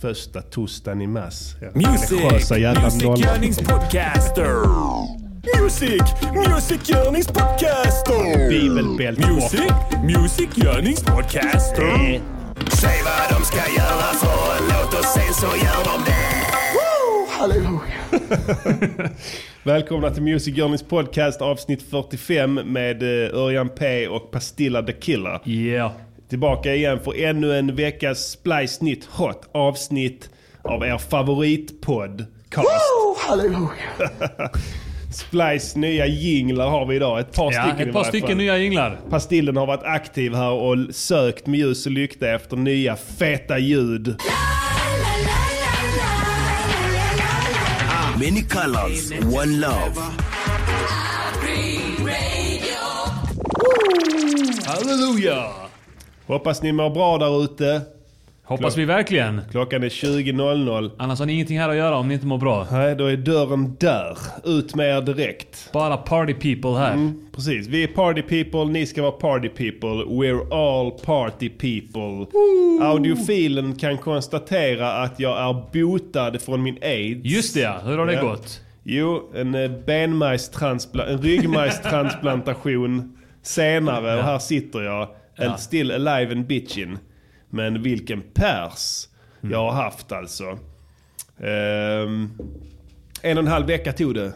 första torsdagen i mars. Ja. Music! Religiösa jävla nollor. Music-görningspodcaster! Music! Music-görningspodcaster! Bibelbälte Music! Music-görningspodcaster! Säg vad de ska göra för en låt och sen så gör de det! Välkomna till Music Journeys podcast avsnitt 45 med eh, Örjan P och Pastilla the Killer. Yeah. Tillbaka igen för ännu en veckas splice nytt hot avsnitt av er favoritpodd. Cast. Splice nya jinglar har vi idag. Ett par Ja, stycken i ett par varje stycken fall. nya jinglar. Pastillen har varit aktiv här och sökt med ljus och lykta efter nya feta ljud. Many colors, one love. Halleluja! Hoppas ni mår bra där ute. Hoppas vi verkligen. Klockan är 20.00. Annars har ni ingenting här att göra om ni inte mår bra. Nej, då är dörren där. Ut med er direkt. Bara party people här. Precis. Vi är party people, ni ska vara party people. We're all party people. Audiofilen kan konstatera att jag är botad från min aids. Just det ja, hur har det Ja. gått? Jo, en eh, benmajstranspla- en ryggmajstransplantation senare och här sitter jag. Ja. Still alive and bitchin. Men vilken pers Mm. jag har haft alltså. Ehm, en och en halv vecka tog det.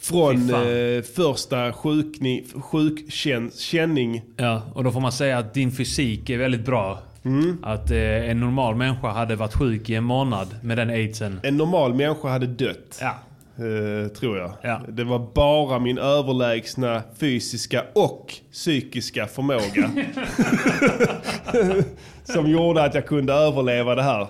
Fy Från fan. eh, första sjukni- sjukkänning. Ja, och då får man säga att din fysik är väldigt bra. Mm. Att eh, en normal människa hade varit sjuk i en månad med den aidsen. En normal människa hade dött. Ja. Eh, tror jag. Ja. Det var bara min överlägsna fysiska och psykiska förmåga. som gjorde att jag kunde överleva det här.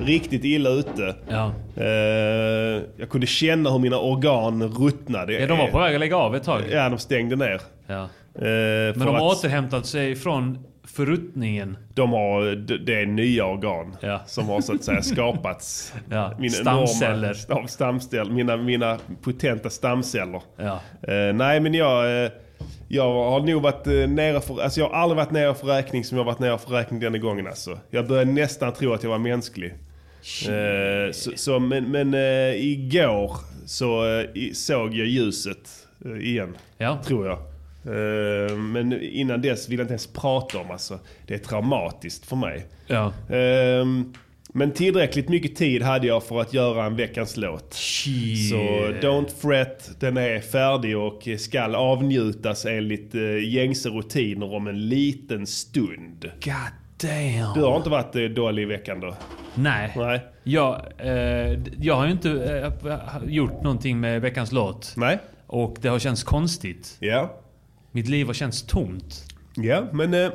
Riktigt illa ute. Ja. Eh, jag kunde känna hur mina organ ruttnade. ja, de var på väg att lägga av ett tag. Ja, de stängde ner. Ja. Eh, Men för de har att återhämtat sig från förruttningen. de har, d- det är nya organ Ja. som har så att säga skapats. Ja, enorma- stamceller. av stamceller. Mina, mina potenta stamceller. Ja. Eh, nej men jag, eh, jag har nog varit eh, nere för, alltså jag har aldrig varit nere för räkning som jag har varit nere för räkning denna gången alltså. Jag började nästan tro att jag var mänsklig. Eh, så, så, men men eh, igår så eh, i- såg jag ljuset eh, igen, Ja. tror jag. Eh, men innan dess vill jag inte ens prata om alltså. Det är traumatiskt för mig. Ja. Ehm, men tillräckligt mycket tid hade jag för att göra en veckans låt. Så Don't Fret, den är färdig och skall avnjutas enligt eh, gängse rutiner om en liten stund. God damn. Du har inte varit eh, dålig i veckan då? Nej. Nej. Jag, eh, d- jag har ju inte eh, gjort någonting med veckans låt. Nej? Och det har känts konstigt. Ja. Mitt liv har känts tomt. Ja, men eh,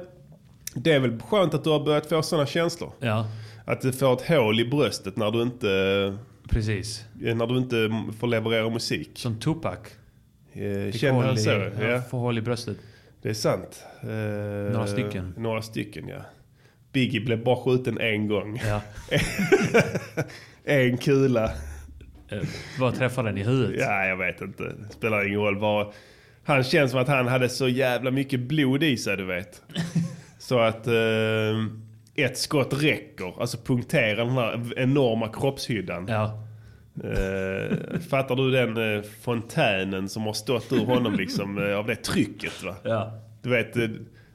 det är väl skönt att du har börjat få sådana känslor? Ja, Att du får ett hål i bröstet när du inte, eh, precis. när du inte får leverera musik. Som Tupac. Eh, Fick Känner hål du i- så? ja. Får hål i bröstet. Det är sant. Eh, några stycken. Några stycken, ja. Biggie blev bara skjuten en gång. Ja. en kula. Eh, Bara träffa den i huvudet. Ja, jag vet inte. Det spelar ingen roll. Var... Han känns som att han hade så jävla mycket blod i sig, du vet. Så att eh, ett skott räcker. Alltså punktera den här enorma kroppshyddan. Ja. Eh, fattar du den eh, fontänen som har stått ur honom liksom, eh, av det trycket? Va? Ja. Du vet, eh,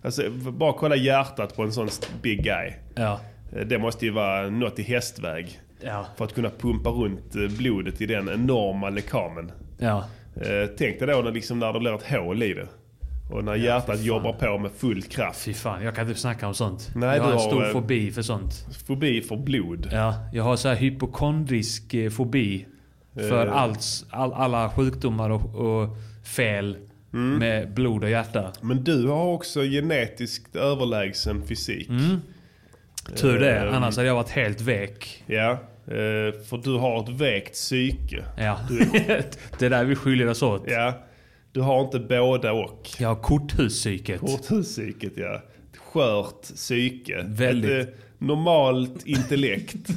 alltså, v- bara kolla hjärtat på en sån st- big guy. Ja. Eh, Det måste ju vara något i hästväg. Ja. För att kunna pumpa runt eh, blodet i den enorma lekamen. Ja. Eh, Tänk dig då när, liksom, när det blir ett hål i det. Och när hjärtat jobbar på med full kraft. Fy fan, jag kan inte snacka om sånt. Nej, jag har du en har, stor eh, fobi för sånt. Fobi för blod. Ja, jag har så här hypokondrisk eh, fobi. För Eh. alls, all, alla sjukdomar och, och fel Mm. med blod och hjärta. Men du har också genetiskt överlägsen fysik. Mm. Tur det, Eh. annars hade jag varit helt väck. Ja, eh, för du har ett väkt psyke. Ja. det är där vi skiljer oss åt. Ja, du har inte båda och. Jag har korthuspsyket. Korthuspsyket ja. Ett skört psyke. Väldigt. Ett eh, normalt intellekt.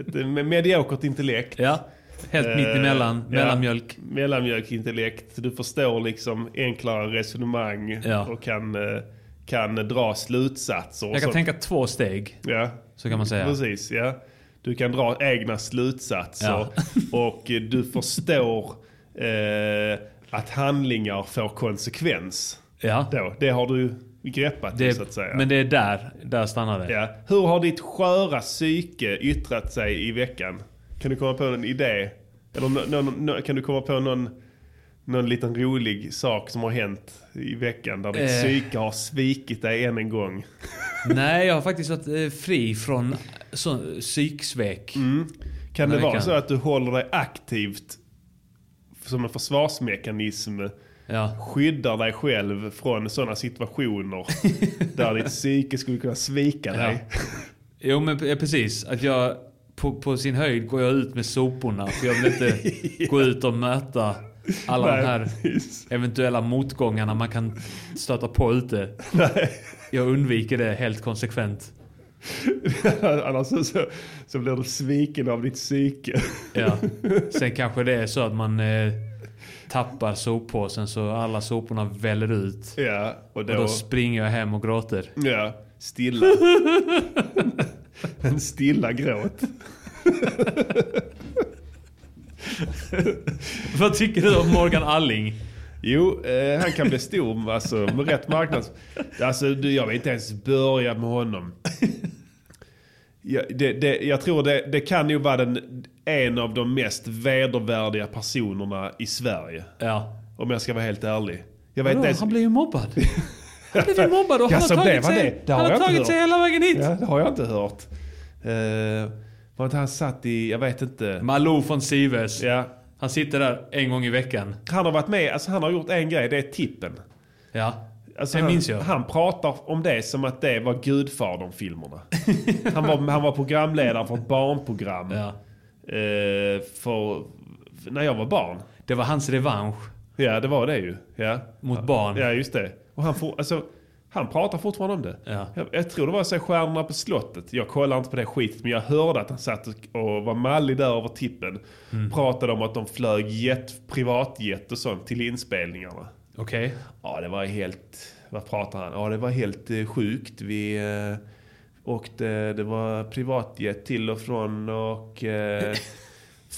Ett eh, me- mediokert intellekt. Ja, helt mitt Eh, emellan. ja. Mellanmjölk. Mellanmjölkintellekt. Du förstår liksom enklare resonemang Ja. och kan, eh, kan dra slutsatser. och Jag kan så- tänka två steg, Ja, så kan man säga. precis. Ja. Du kan dra egna slutsatser och eh, du förstår eh, att handlingar får konsekvens. Ja. Då, det har du greppat det, så att säga. Det, men det är där, där stannar det. Ja. Hur har ditt sköra psyke yttrat sig i veckan? Kan du komma på en idé? Eller nå- nå- nå- kan du komma på någon, någon liten rolig sak som har hänt i veckan där ditt Eh. psyke har svikit dig än en gång? Nej, jag har faktiskt varit eh, fri från så, psyksvek. Mm. Kan Nej, det vara kan. så att du håller dig aktivt som en försvarsmekanism Ja. skyddar dig själv från sådana situationer där ditt psyke skulle kunna svika Ja. dig? Jo, men ja, precis. Att jag på, på sin höjd går jag ut med soporna. För jag vill inte gå ut och möta alla Nej, de här precis. eventuella motgångarna man kan stöta på ute. Nej. Jag undviker det helt konsekvent. Annars så, så, så blir du sviken av ditt psyke. Ja. Sen kanske det är så att man eh, tappar soppåsen så alla soporna väller ut. Ja, och då... Och då springer jag hem och gråter. ja, stilla. en stilla gråt. Vad tycker du om Morgan Alling? Jo, eh, han kan bli stor alltså, med rätt marknads... Alltså, du, jag vill inte ens börja med honom. Jag, det, det, jag tror det, det kan ju vara den, en av de mest vedervärdiga personerna i Sverige. Ja. Om jag ska vara helt ärlig. Jag vet Vadå, inte ens... han blev ju mobbad. Han blev ju mobbad och Ja, han så har blev tagit han sig, det. Det har han har jag inte tagit hört. sig hela vägen hit. Ja, det har jag inte hört. Eh, var inte han satt i, jag vet inte. Malou från Sivers. Ja, Han sitter där en gång i veckan. Han har varit med, alltså han har gjort en grej, det är tippen. Ja. Alltså Det han, minns jag. han pratar om det som att det var Gudfadern-filmerna. han, var, han var programledare för ett barnprogram. ja. Eh, för, för när jag var barn. Det var hans revansch Ja, det var det ju. Ja, mot barn. ja just det. Och han, får, alltså, han pratar fortfarande om det. Ja. Jag, jag tror det var så Stjärnorna på slottet. Jag kollar inte på det skitet, men jag hörde att han satt och och var mallig där över tippen. Mm. Pratade om att de flög jet, privatjet och sånt till inspelningarna. Okej. Ja, det var helt... Vad pratar han? Ja, det var helt eh, sjukt. Vi eh, åkte... Det var privatjet till och från och eh,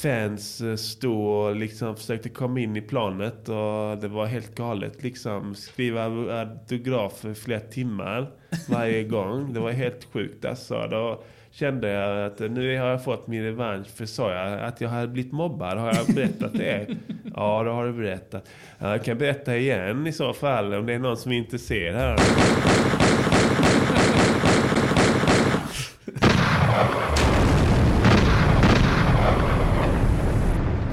fans eh, stod och liksom försökte komma in i planet och det var helt galet liksom. Skriva autograf i flera timmar varje gång. Det var helt sjukt alltså. Då kände jag att nu har jag fått min revansch för sa jag att jag hade blivit mobbad? Har jag berättat det? Ja, det har du berättat. Ja, Jag kan berätta igen i så fall om det är någon som är intresserad.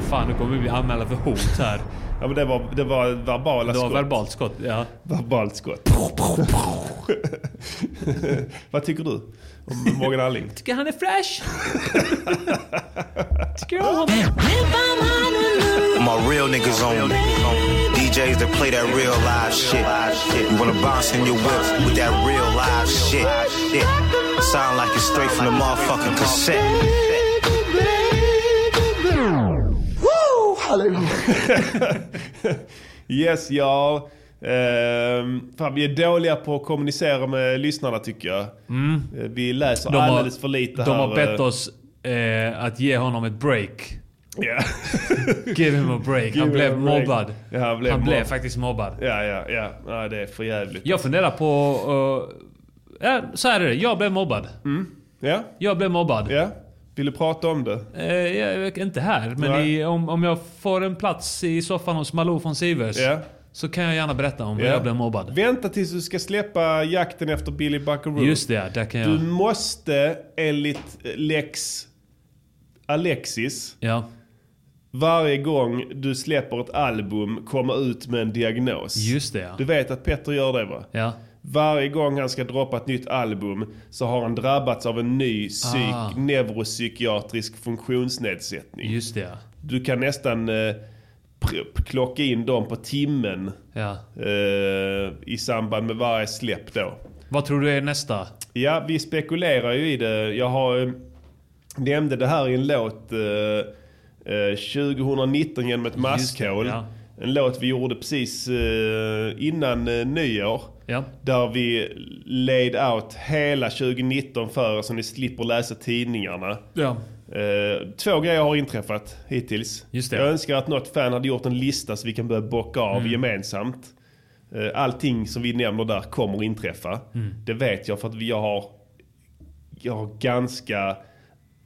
Fan, nu kommer vi bli anmälda för hot här. Ja, men det var, det var verbala Det var skott. verbalt skott. Ja. Verbalt skott. Vad tycker du om Morgan Alling? Tycker han är fresh? Tycker jag om My real niggas only. DJs that play that real live shit. You wanna bounce in your whip with that real live shit. Sound like it's straight from the motherfucking cassette. Yes, y'all. Ehm, fan, vi är dåliga på att kommunicera med lyssnarna tycker jag. Eh, Vi läser Mm. De har, alldeles för lite de här. eh, har bett oss eh, att ge honom ett break. Ja. Give him a break. Give han him blev a break. mobbad. Ja, han blev mobbad. faktiskt mobbad. ja, ja, ja. Ja, det är för jävligt. Jag funderar på... eh, ja, så här är det. Jag blev mobbad. Mm. Ja, Jag blev mobbad. ja. Vill du prata om det? Eh, jag, inte här, men Nej. i, om, om jag får en plats i soffan hos Malou från Sivers Ja. så kan jag gärna berätta om hur Ja. jag blev mobbad. Vänta tills du ska släppa jakten efter Billy Buckaroo. Just det, där kan jag... Du måste enligt eh, Lex Alexis Ja, varje gång du släpper ett album komma ut med en diagnos. just det ja. Du vet att Petter gör det va? ja. Varje gång han ska droppa ett nytt album så har han drabbats av en ny psyk- Ah. neuropsykiatrisk funktionsnedsättning. Just det ja. Du kan nästan eh, pr- klocka in dem på timmen ja. eh, i samband med varje släpp då. Vad tror du är nästa? Ja, vi spekulerar ju i det. Jag har eh, nämnde det här i en låt eh, eh, 2019 genom ett maskhål. ja. En låt vi gjorde precis eh, innan eh, nyår. Ja. Där vi laid out hela 2019 för er så ni slipper läsa tidningarna. Ja. Eh, två grejer har inträffat hittills. Just det. Mm. Jag önskar att något fan hade gjort en lista så vi kan börja bocka av gemensamt. Eh, allting som vi nämner där kommer inträffa. Mm. Det vet jag för att vi- jag har, jag har ganska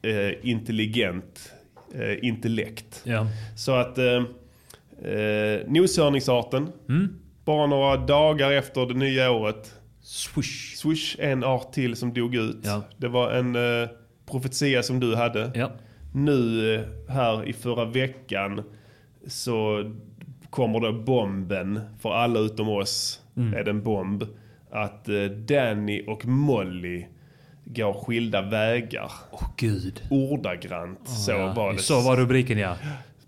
eh, intelligent eh, intellekt. Ja. Så att eh, eh, noshörningsarten, Mm. bara några dagar efter det nya året Swish. Swish en art till som dog ut. Ja. Det var en eh, profetia som du hade. Ja. Nu eh, här i förra veckan så kommer då bomben för alla utom oss. Mm. Är det en bomb. Att eh, Danny och Molly går skilda vägar. Åh gud. Ordagrant så Ah, Ja, var det. Så var rubriken ja.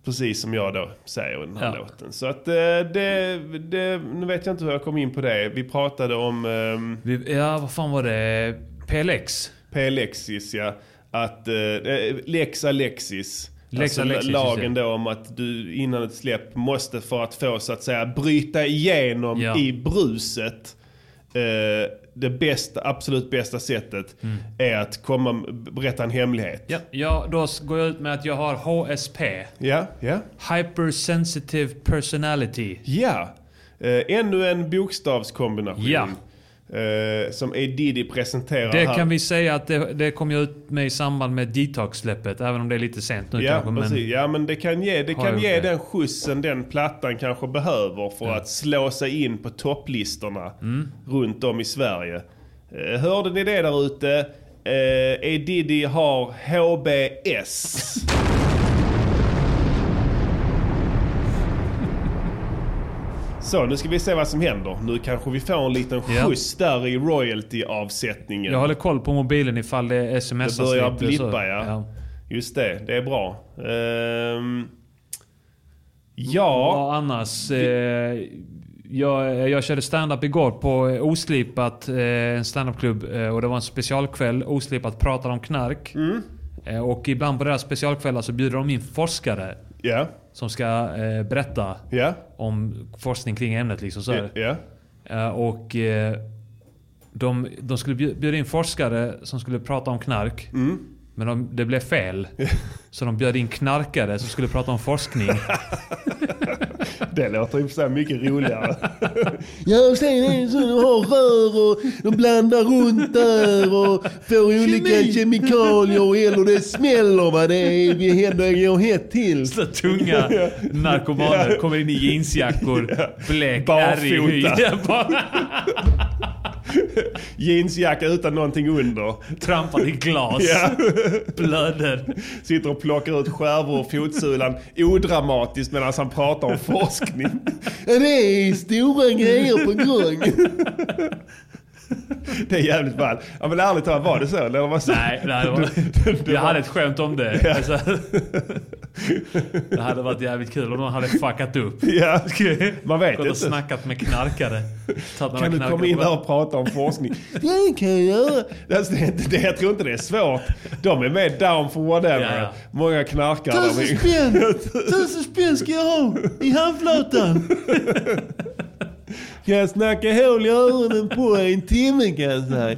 Precis som jag då säger i den här Ja. låten. Så att eh, det, det, nu vet jag inte hur jag kom in på det. Vi pratade om ehm, Vi, ja, vad fan var det? PLX? P. Lexis, ja. Att, eh, eh, lex Alexis. Lex Alexis, Alltså, lagen just då om att du innan ett släpp måste för att få så att säga bryta igenom Ja. i bruset. Eh, det bästa, absolut bästa sättet är att komma, berätta en hemlighet. Mm. Ja, ja, då s- går jag ut med att jag har HSP. Ja, ja. Hypersensitive personality. Ja. Eh, ännu en bokstavskombination. Ja. Eh, som A. Diddy presenterar Det här. kan vi säga att det, det kom jag ut med i samband med detox-släppet. Även om det är lite sent nu Ja, kanske. precis. Men, ja, men det kan ge, det Har kan jag ge gjort det? den skjutsen den plattan kanske behöver för att slå sig in på topplistorna Mm. runt om i Sverige. Eh, hörde ni det där ute? Eh, A. Diddy har HBS. Så, nu ska vi se vad som händer. Nu kanske vi får en liten Ja. skjuts där i royalty-avsättningen. jag håller koll på mobilen ifall det smsas Det börjar lite. blippa så- ja. Just det, det är bra. Ehm, ja, Ja, annars. Eh, jag, jag körde stand-up igår på eh, Oslipat, eh, en standupklubb. Eh, och det var en specialkväll. Oslipat pratar om knark. Mm. Eh, och ibland på deras specialkvällar så bjuder de in forskare. ja, Som ska eh, berätta ja, om forskning kring ämnet. Liksom, så här. ja, Eh, Och eh, de, de skulle bju- bjuda in forskare som skulle prata om knark. Mm. Men de, det blev fel. Så de bjöd in knarkare som skulle prata om forskning. det låter ju så mycket roligare. ja, sen är det så de har rör och de blandar runt där och får olika kemikalier eller det smäller vad det är, vi händer går hett till. Så tunga narkomaner kommer in i jeansjackor, blek, ärrig hy. Barfota. Ja, bara Jeansjacka utan någonting under. Trampar i glas, Ja. blöder. Sitter och plockar ut skärvor ur fotsulan odramatiskt medan han pratar om forskning. Det är stora grejer på gång. Det är jävligt ball. Ja men ärligt talat, var det så? Eller var det så? Nej, nej det var, jag hade ett skämt om det. Alltså, det hade varit jävligt kul om någon hade fuckat upp. Ja. Man vet Gått och inte. snackat med knarkare. Tagit några Kan du knarkare komma in på- där och prata om forskning? Det kan jag göra. Alltså, det, är inte- det, jag tror inte det är svårt. De är med down for whatever. Ja, ja. Många knarkare. Tusen där. spänn! Tusen spänn ska jag ha i handflatan! Kan jag snacka hål i öronen på en timme kan jag säga.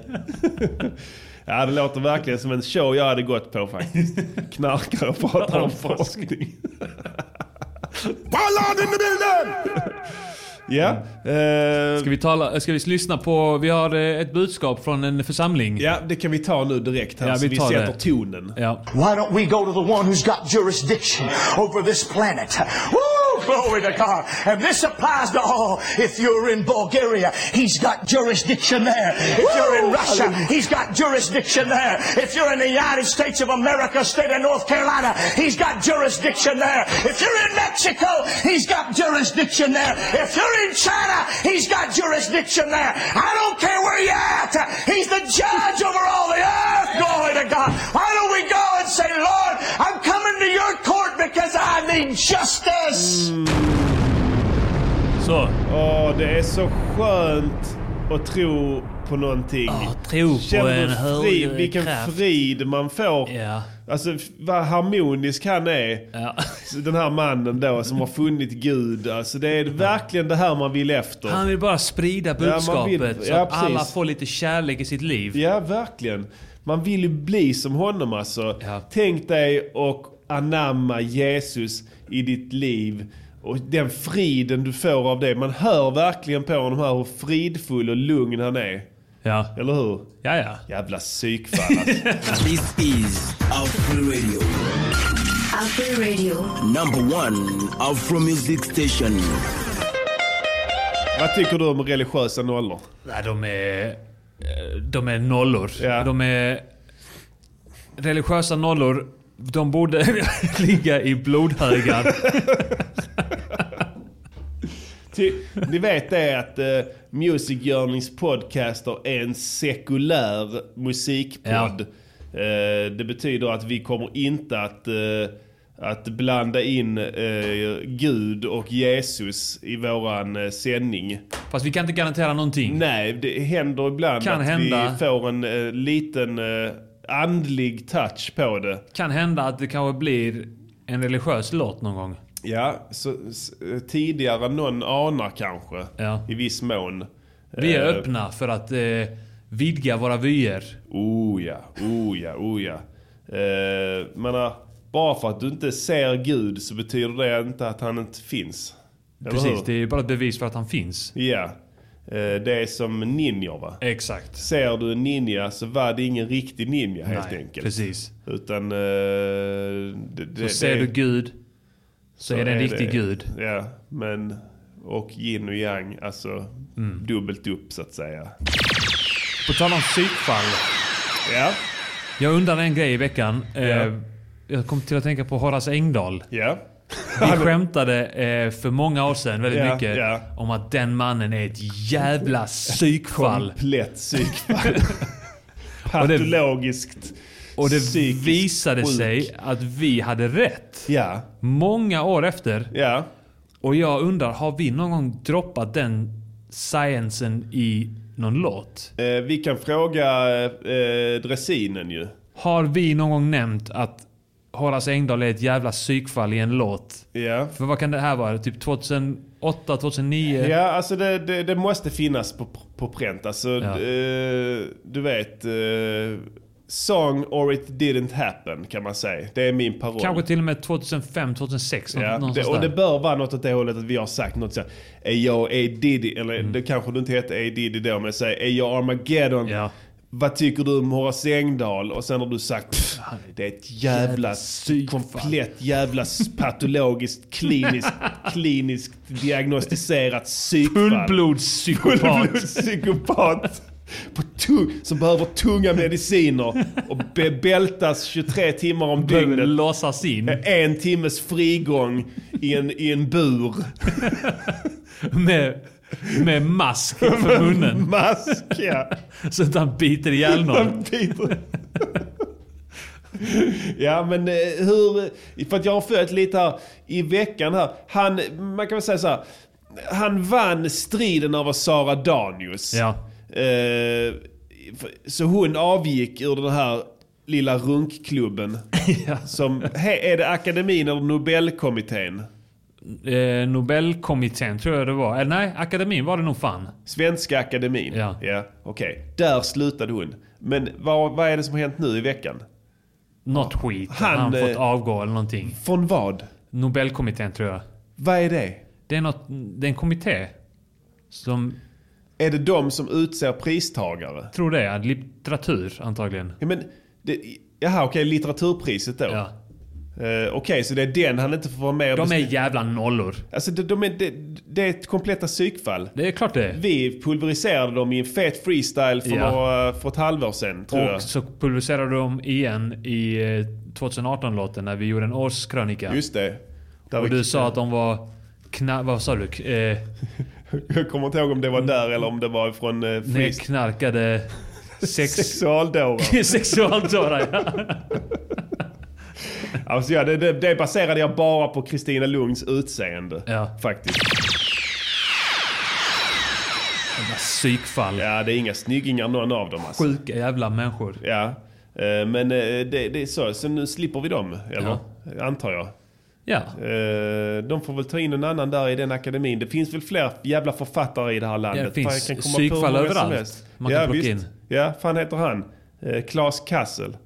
Ja, det låter verkligen som en show jag hade gått på faktiskt. Knarkare pratar om forskning. Ballan in i bilden! Ja. eh, Ska vi, tala, ska vi lyssna på... Vi har eh, ett budskap från en församling. ja, det kan vi ta nu direkt här Ja, så vi vi tar sätter det. tonen. Ja. Why don't we go to the one who's got jurisdiction over this planet? Woo! Glory to God. And this applies to all. If you're in Bulgaria, he's got jurisdiction there. If you're in Russia, he's got jurisdiction there. If you're in the United States of America, state of North Carolina, he's got jurisdiction there. If you're in Mexico, he's got jurisdiction there. If you're in China, he's got jurisdiction there. I don't care where you're at. He's the judge over all the earth. Glory to God. Why don't we go and say, Lord, I'm coming to your court because I need justice. Så. Åh, det är så skönt att tro på någonting. Ja, tro på en fri, högre vilken kraft. frid man får. Ja. Alltså f- vad harmonisk han är. Ja. Så Den här mannen då som har funnit Gud. Alltså det är verkligen det här man vill efter. Han vill bara sprida man budskapet vill- så ja, att alla precis. får lite kärlek i sitt liv. Ja, verkligen. Man vill ju bli som honom alltså. Ja. Tänk dig och anamma Jesus i ditt liv. Och den friden du får av det. Man hör verkligen på honom här hur fridfull och lugn han är. Ja, Eller hur? ja. ja. Jävla psykfall alltså. This is Afro Radio, Afro Radio. number one Afro music station. Vad tycker du om religiösa nollor? Nej, de är... eh, De är nollor. Ja. De är... Religiösa nollor. De borde ligga i blodhögar. Ty, ni vet det att eh, Music Journings podcaster är en sekulär musikpodd. Eh, det betyder att vi kommer inte att, eh, att blanda in eh, Gud och Jesus i våran eh, sändning. Fast vi kan inte garantera någonting. Nej, det händer ibland Kan att hända. vi får en eh, liten eh, andlig touch på det. Kan hända att det kanske blir en religiös låt någon gång. Ja, så, s- eh, tidigare än någon anar kanske. Ja. I viss mån. Vi är Eh, öppna för att eh, vidga våra vyer. Oh ja, oh ja, oh ja. Eh, menar, bara för att du inte ser Gud så betyder det inte att han inte finns. Eller Precis, hur? det är bara ett bevis för att han finns. Ja. Eh, det är som ninjor va? Exakt. Ser du en ninja så var det ingen riktig ninja helt Nej, enkelt. Precis. Utan... eh, det, det, Så ser det- du Gud, så, är det en riktig Gud. Ja, men... Och yin och yang, alltså Mm. dubbelt upp så att säga. På tal om psykfall. Ja, Jag undrar en grej i veckan. Eh, jag kom till att tänka på Horace Engdahl. ja. Vi skämtade eh, för många år sedan väldigt Ja, mycket ja. om att den mannen är ett jävla psykfall. Plätt psykfall. Och det- Patologiskt. Och det psykiskt visade sjuk. sig att vi hade rätt. Ja, Många år efter. ja. Och jag undrar, har vi någon gång droppat den sciencen i någon låt? Eh, vi kan fråga eh, eh, Dresinen ju. Har vi någon gång nämnt att Horace Engdahl är ett jävla psykfall i en låt? Ja. För vad kan det här vara? Typ 2008, 2009? Ja, alltså det, det, det måste finnas på, på pränt. Alltså, Ja. eh, du vet. Eh, song or it didn't happen kan man säga. Det är min paroll. Kanske till och med 2005, 2006. Ja, Ja, det, någonstans och det där. bör vara något åt det hållet att vi har sagt något såhär. Är jag A Diddy? Eller det kanske du inte hette A Diddy då, men säg är jag Armageddon? Ja. Vad tycker du om Horace Engdahl? Och sen har du sagt "Pff, det är ett jävla psykfall." komplett jävla s- patologiskt kliniskt, kliniskt diagnostiserat psykfall. Fullblodspsykopat. psykopat. På tu- som behöver tunga mediciner och be- bältas 23 timmar om dygnet. Låsas in En timmes frigång i en, i en bur. med, med mask för munnen. Mask, ja. Så att han biter ihjäl någon. Han biter. Ja men eh, hur, för att jag har följt lite här i veckan här. Han, man kan väl säga så här. Han vann striden över Sara Danius. Ja. Eh, för- så hon avgick ur den här lilla runkklubben. Ja. Som, he, är det akademin eller Nobelkommittén? Eh, Nobelkommittén tror jag det var. Eller nej, akademin var det nog fan. Svenska Akademin. Ja. Okej, där slutade hon. Men vad, vad är det som har hänt nu i veckan? Något skit. Han, Han, han fått eh, avgå eller någonting. Från vad? Nobelkommittén tror jag. Vad är det? Det är, något, det är en kommitté. Som, Är det de som utser pristagare? tror det, är litteratur antagligen. Ja, men det, jaha, okej, litteraturpriset då. Ja. Eh, okej, så det är den han inte får vara med och De är besluta- jävla nollor. Alltså, de, de är, det, det är ett kompletta psykfall. Det är klart det är. Vi pulveriserade dem i en fet freestyle för, Ja. några, för ett halvår sedan, tror jag. Och så publicerade de igen i eh, 2018-låten när vi gjorde en årskrönika. Just det. Där och vi- du sa att de var... Kna- vad sa du? K- Eh, Jag kommer inte ihåg om det var där eller om det var från eh, freestyle. nedknarkade sex... Sexualdårar. Sexualdårar ja. Alltså ja, det, det, det baserade jag bara på Kristina Lungs utseende. Ja. Faktiskt. Jävla psykfall. Ja, det är inga snyggingar någon av dem alltså. Sjuka jävla människor. Ja. Eh, Men eh, det, det är så, så nu slipper vi dem, eller? Antar jag. Ja. Eh, De får väl ta in en annan där i den akademin. Det finns väl fler jävla författare i det här landet. Ja, det finns Fan, jag kan komma psykfall på hur många som överallt helst. man kan ja, plocka in. Ja, fan heter han? Eh, Claes Kassel.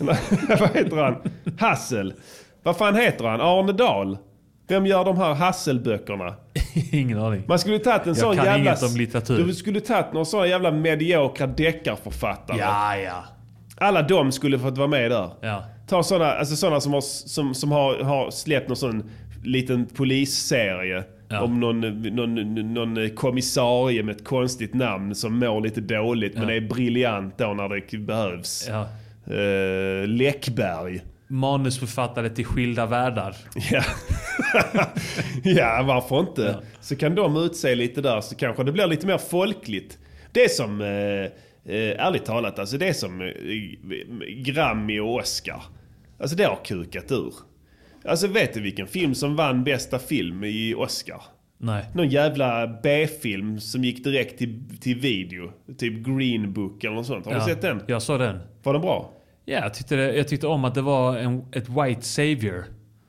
Nej, Vad heter han? Hassel. Vad fan heter han? Arne Dahl. Vem gör de här Hasselböckerna? Ingen aning. Man skulle tagit en sån kan jävla... inget om litteratur. Du skulle tagit några såna jävla mediokra deckarförfattare. Ja, ja. Alla de skulle fått vara med där. Ja. Ta sådana alltså såna som, har, som, som har, har släppt någon sån liten polisserie. Ja. Om någon, någon, någon kommissarie med ett konstigt namn som mår lite dåligt men Ja. är briljant då när det behövs. ja. Eh, Läckberg. Manusförfattare till Skilda Världar. Ja. ja, varför inte? Så kan de utse lite där så kanske det blir lite mer folkligt. Det är som, eh, eh, ärligt talat, alltså det är som eh, Grammy och Oscar. Alltså det har kukat ur. Alltså vet du vilken film som vann bästa film i Oscar? Nej. Någon jävla B-film som gick direkt till, till video. Typ Green Book eller något sånt. Har Ja. du sett den? Jag såg den. Var den bra? Ja, jag tyckte, det, jag tyckte om att det var en, ett white savior.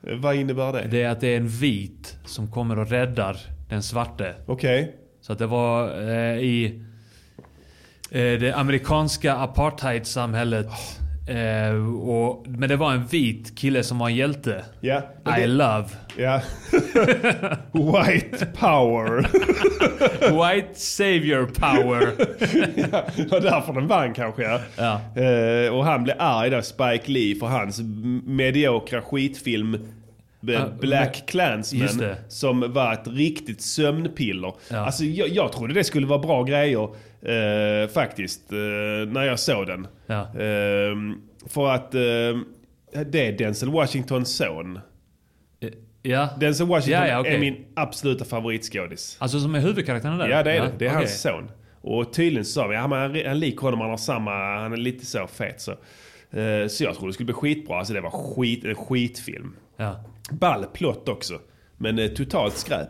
Eh, Vad innebär det? Det är att det är en vit som kommer och räddar den svarte. Okej. Så att det var eh, i eh, det amerikanska apartheidsamhället. Eh, och, men det var en vit kille som var en hjälte. Ja. I love Ja. White power. white savior power. Det var därför den vann kanske. Ja. Ja. Eh, och han blev arg då, Spike Lee, för hans m- mediokra skitfilm B- Ja, Black men- just Klansman det. som var ett riktigt sömnpiller. Ja. Alltså, jag, jag trodde det skulle vara bra grejer eh, faktiskt eh, när jag såg den. Ja. Eh, för att eh, det är Denzel Washingtons son. Eh, ja. Denzel Washington Ja, ja, okej. är min absoluta favoritskådis. Alltså som är huvudkaraktären där? Ja det är det. Det är okej. hans son. Och tydligen så sa vi, ja, men han, han lik honom, han har samma, han är lite så fet så. Eh, Så jag trodde det skulle bli skitbra. Alltså det var skit, en skitfilm. Ja. Ball plott också. Men eh, totalt skräp.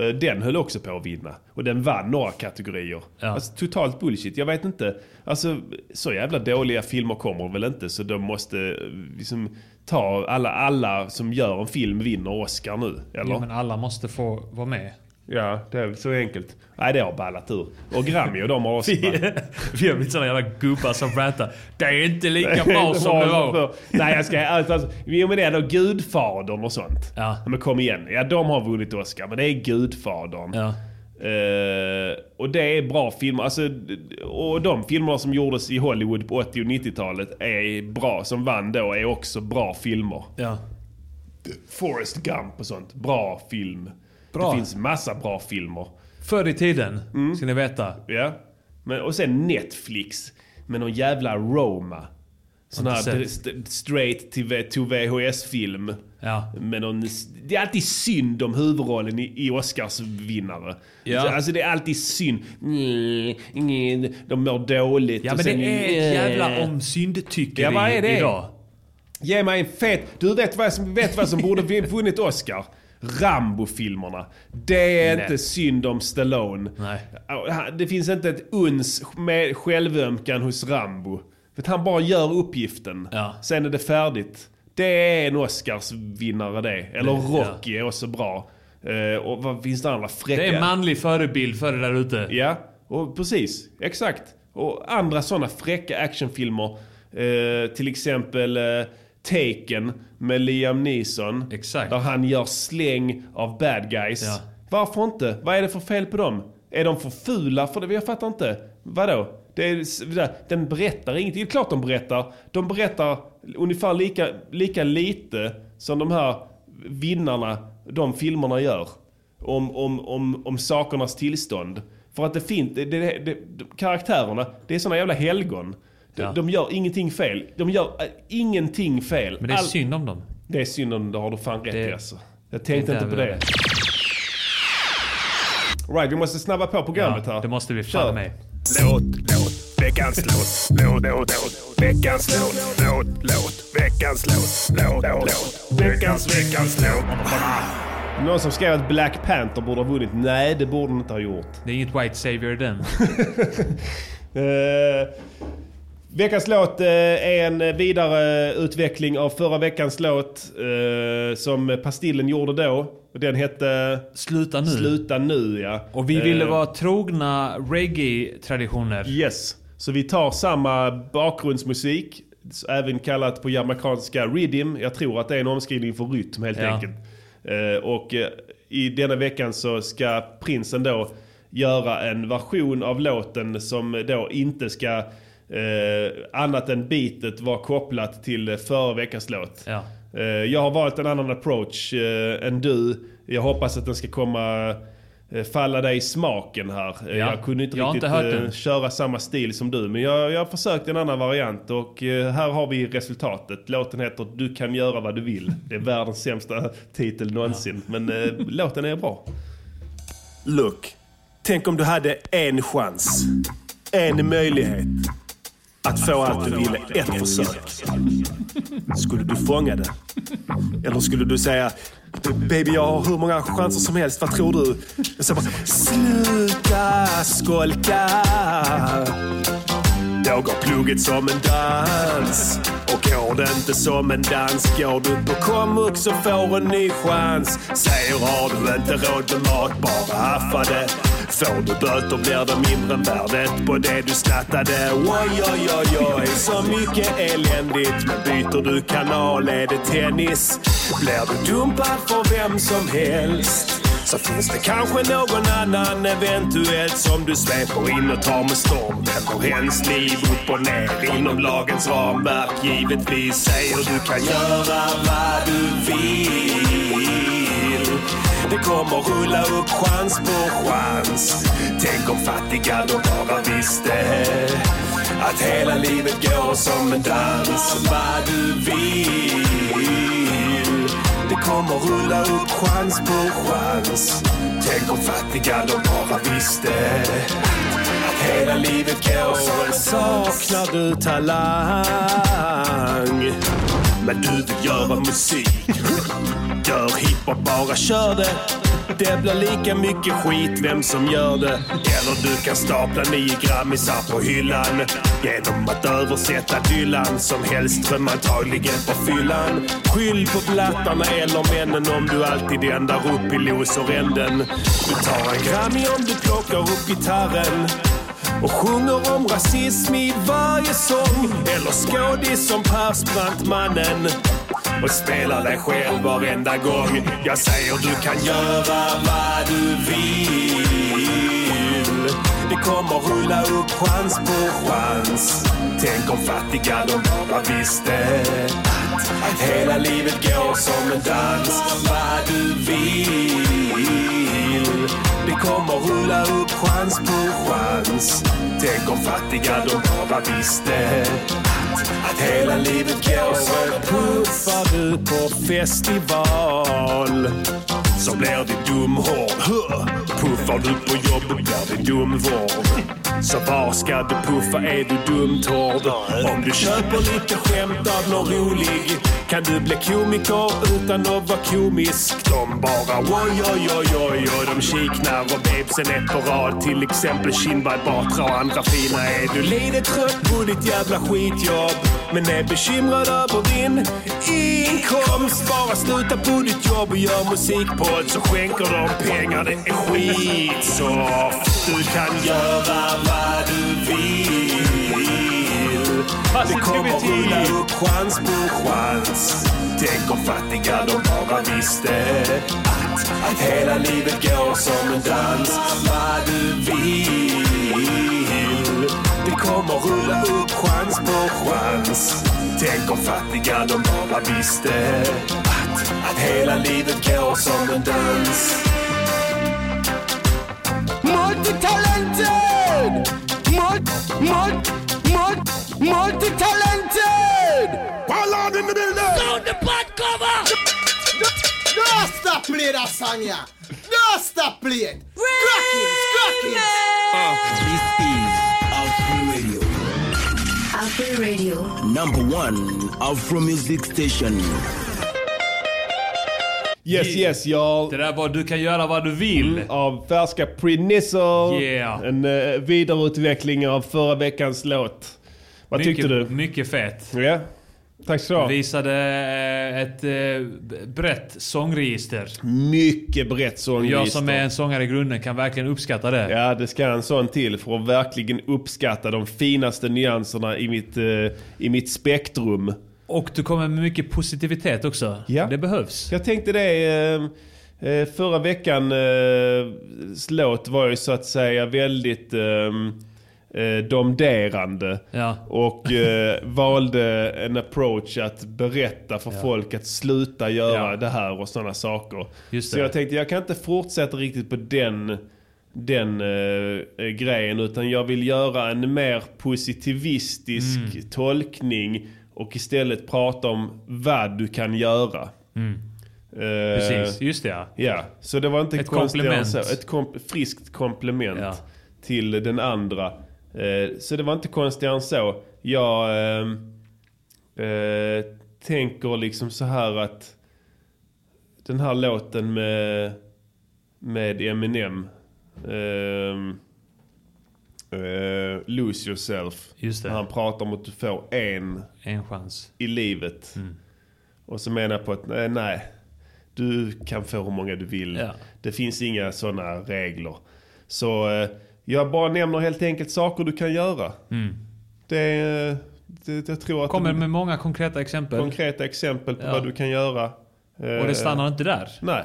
Eh, Den höll också på att vinna. Och den vann några kategorier. Ja. Alltså totalt bullshit. Jag vet inte. Alltså så jävla dåliga filmer kommer väl inte. Så de måste eh, liksom ta alla, alla som gör en film vinner Oscar nu. Eller? Jo, men alla måste få vara med. Ja, det är väl så enkelt. Nej, det har ballat ur. Och Grammy och de har också ballat Vi har blivit såna jävla gubbar som rantar. Det är inte lika bra som det var. Nej, jag ska... Alltså, alltså, jo, men det är då Gudfadern och sånt. Ja. Men kom igen. Ja, de har vunnit Oscar, men det är Gudfadern. Ja. Eh, och det är bra filmer. Alltså, och de filmerna som gjordes i Hollywood på 80 och 90-talet är bra. Som vann då är också bra filmer. Ja. Forrest Gump och sånt. Bra film. Bra. Det finns massa bra filmer. Förr i tiden, Mm. ska ni veta. Ja. Men, och sen Netflix med någon jävla Roma. Sån här Har inte st- straight till, V- to VHS-film. Ja. Med någon, det är alltid synd om huvudrollen i, i Oscarsvinnare. Ja. Så, Alltså det är alltid synd. Mm, mm, De mår dåligt. Ja och men sen, det är ett jävla eh, omsyndetyckeri Ja, vad är det? idag. Ge mig en fet... Du vet vad som, vet vad som borde vin- vunnit Oscar? Rambo-filmerna. Det är inte synd om Stallone. Nej. Det finns inte ett uns med självömkan hos Rambo. För att han bara gör uppgiften. Ja. Sen är det färdigt. Det är en Oscarsvinnare det. Eller Rocky är också bra. Eh, och vad finns det andra fräcka? Det är en manlig förebild för det där ute. Ja, och precis. Exakt. Och andra sådana fräcka actionfilmer. Eh, till exempel eh, Taken med Liam Neeson. Exakt. Där han gör släng av bad guys. Ja. Varför inte? Vad är det för fel på dem? Är de för fula för det? Jag fattar inte. Vadå? Det är, s- det där, den berättar inget. Det är klart de berättar. De berättar ungefär lika, lika lite som de här vinnarna, de filmerna gör. Om, om, om, om sakernas tillstånd. För att det finns, det, det, det, de- karaktärerna, det är såna jävla helgon. De, Ja. de gör ingenting fel. De gör äh, ingenting fel. Men det är All- synd om dem. det är synd om det har du fan rätt Det- i alltså. Jag tänkte det är inte på väl det. Right, vi måste snabba på programmet här. Ja, det måste vi Kör. fan med. Låt, låt, veckans låt, låt, låt, låt, veckans låt, låt, låt, veckans låt, låt, låt, veckans, veckans låt. Någon som skrev att Black Panther borde ha vunnit. Nej, det borde den inte ha gjort. Det är inget White Savior i den. Eh, veckans låt eh, är en vidare utveckling av förra veckans låt eh, som Pastillen gjorde då. Och Den hette Sluta nu. Sluta nu ja. Och vi ville Eh, vara trogna reggae-traditioner. Yes. Så vi tar samma bakgrundsmusik, s- även kallat på jamaicanska rhythm. Jag tror att det är en omskrivning för rytm helt Ja. enkelt. Eh, och eh, i denna veckan så ska prinsen då göra en version av låten som då inte ska eh, annat än bitet vara kopplat till eh, förra veckans låt. Ja. Eh, jag har valt en annan approach eh, än du. Jag hoppas att den ska komma eh, falla dig i smaken här. Eh, Ja. Jag kunde inte Jag har riktigt inte hört eh, den. köra samma stil som du. Men jag, jag har försökt en annan variant och eh, här har vi resultatet. Låten heter Du kan göra vad du vill. Det är världens sämsta titel någonsin. Men eh, låten är bra. Look, tänk om du hade en chans. En möjlighet. Att få allt du ville ett försök. Skulle du fånga det? Eller skulle du säga Baby jag har hur många chanser som helst, vad tror du? Jag säger bara Sluta skolka Då går plugget som en dans Och går det inte som en dans Går du på komvux och får en ny chans Säger har du inte råd med mat, bara haffa det Får du böter blir det mindre än värdet på det du snattade Oj, oj, oj, oj, så mycket eländigt Men byter du kanal är det tennis Blir du dumpad för vem som helst så finns det kanske någon annan eventuellt som du sveper in och tar med storm. Vänder hens liv upp och ner inom lagens ramverk. Givetvis säger du kan göra vad du vill. Det kommer rulla upp chans på chans. Tänk om fattiga då bara visste att hela livet går som en dans. Vad du vill. Det kommer rulla upp chans på chans Tänk om fattiga de bara visste Att hela livet går Saknar du talang Men du vill göra musik Gör hiphop, bara kör det det blir lika mycket skit vem som gör det. Eller du kan stapla nio grammisar på hyllan. Genom att översätta Dylan som helst dröm antagligen på fyllan. Skyll på blattarna eller männen om du alltid ändar upp i losoränden. Du tar en Grammy om du plockar upp gitarren och sjunger om rasism i varje sång. Eller skådis som Persbrandt-mannen och spelar dig själv varenda gång. Jag säger du kan göra vad du vill. Det kommer rulla upp chans på chans. Tänk om fattiga de bara visste att, att hela livet går som en dans. Vad du vill. Det kommer rulla upp chans på chans. Tänk om fattiga de bara visste att, att hela livet går så Puffar du på festival så blir det dumhård. Huh! Puffar du på jobbet blir det dumvård. Så var ska du puffa? Är du dumtård? Om du köper lite skämt av någon rolig kan du bli komiker utan att vara komisk. De bara oj, oj, oj, oj och de kiknar och bebisen är på rad. Till exempel Kinberg Batra och andra fina. Är du lite trött på ditt jävla skitjobb men är bekymrad över din inkomst? Bara sluta på ditt jobb och gör musikpodd så skänker de pengar. Det är skitsoft. Du kan göra vad du vill. Det kommer rulla upp chans på chans. Tänk om fattiga de bara visste att, att hela livet går som en dans. Vad du vill. Det kommer rulla upp chans på chans. Tänk om fattiga de bara visste att, att hela livet går som en dans. Multitalented! Mult, mult, mult, multitalented! Ballad in the building! Sound the butt cover! Now stop play that song, yeah. Now stop play it. Crack it, crack it. This is Afro Radio, Afro Radio. number one Afro music station. Yes yes y'all. Det där var du kan göra vad du vill. Mm, Av färska Prednizzle. Mm. Yeah. En eh, vidareutveckling av förra veckans låt. Vad mycket, tyckte du? Mycket fett. Ja. Tack så du ha. Visade eh, ett eh, b- brett sångregister. Mycket brett sångregister. Jag som är en sångare i grunden kan verkligen uppskatta det. Ja, det ska en sån till för att verkligen uppskatta de finaste nyanserna i mitt, eh, i mitt spektrum. Och du kommer med mycket positivitet också. Ja. Det behövs. Jag tänkte det, eh, eh, förra veckan eh, låt var ju så att säga väldigt eh, eh, domderande. Ja. Och eh, valde en approach att berätta för folk att sluta göra Ja. det här och sådana saker. Just så det. jag tänkte jag kan inte fortsätta riktigt på den, den eh, grejen utan jag vill göra en mer positivistisk Mm. tolkning och istället prata om vad du kan göra. Eh, Precis, just det ja. Ja, så det var inte Ett konstigare än komplement. Så. Ett komp- friskt komplement Ja. till den andra. Eh, så det var inte konstigare än så. Jag eh, eh, tänker liksom så här att den här låten med, med Eminem. ehm, eh, lose yourself. Just det. Han pratar om att du får en En chans. i livet. Mm. Och så menar jag på att nej, nej, du kan få hur många du vill. Ja. Det finns inga sådana regler. Så eh, jag bara nämner helt enkelt saker du kan göra. Det, är, eh, det, jag tror att Mm. Kommer det med många konkreta exempel. konkreta exempel på Ja. vad du kan göra. Eh, och det stannar inte där. Nej,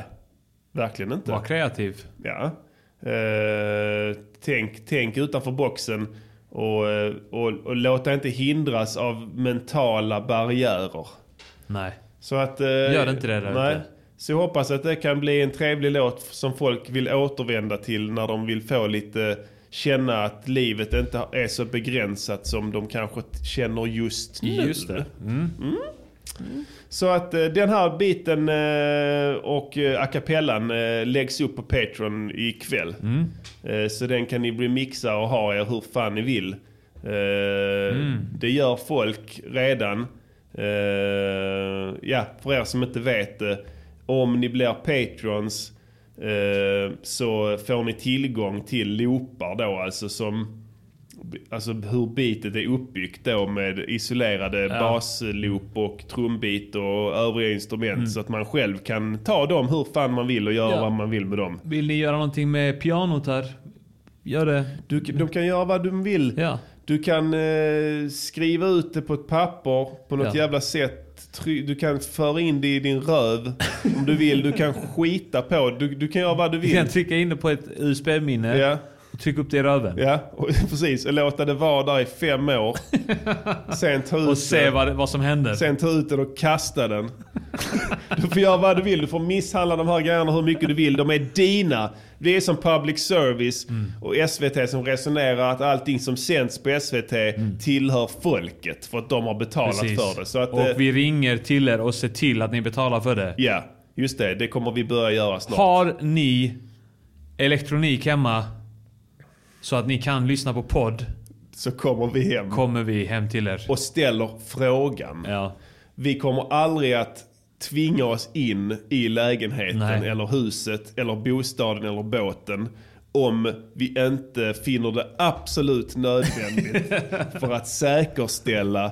verkligen inte. Var kreativ. Ja. Eh, tänk, tänk utanför boxen och, eh, och, och låt dig inte hindras av mentala barriärer. Nej. Så att... eh, Gör inte det där nej. ute. Så jag hoppas att det kan bli en trevlig låt som folk vill återvända till när de vill få lite känna att livet inte är så begränsat som de kanske t- känner just nu. Just det. Så att eh, den här biten eh, och eh, a cappellan eh, läggs upp på Patreon ikväll. Eh, så den kan ni remixa och ha er hur fan ni vill. Eh, Det gör folk redan. Eh, ja, för er som inte vet det. Om ni blir Patrons eh, så får ni tillgång till loopar då alltså som Alltså hur beatet är uppbyggt då med isolerade basloop och trumbeat och övriga instrument. Så att man själv kan ta dem hur fan man vill och göra Ja. vad man vill med dem. Vill ni göra någonting med pianot här? Gör det. Du, de kan göra vad de vill. Ja. Du kan eh, skriva ut det på ett papper på något Ja. jävla sätt. Try- Du kan föra in det i din röv om du vill. Du kan skita på det. Du, du kan göra vad du Du vill. kan trycka in det på ett USB-minne Ja. och trycka upp det i röven. Ja, och, precis. Och låta det vara där i fem år. Sen ta ut Och se det. vad, vad som händer. Sen ta ut den och kasta den. Du får göra vad du vill. Du får misshandla de här grejerna hur mycket du vill. De är dina. Det är som public service och SVT som resonerar att allting som sänds på SVT tillhör folket. För att de har betalat Precis. för det. Så att, eh, och vi ringer till er och ser till att ni betalar för det. Ja, just det. Det kommer vi börja göra snart. Har ni elektronik hemma så att ni kan lyssna på podd Så kommer vi hem kommer vi hem till er. och ställer frågan. Ja. Vi kommer aldrig att tvinga oss in i lägenheten Nej. eller huset eller bostaden eller båten om vi inte finner det absolut nödvändigt för att säkerställa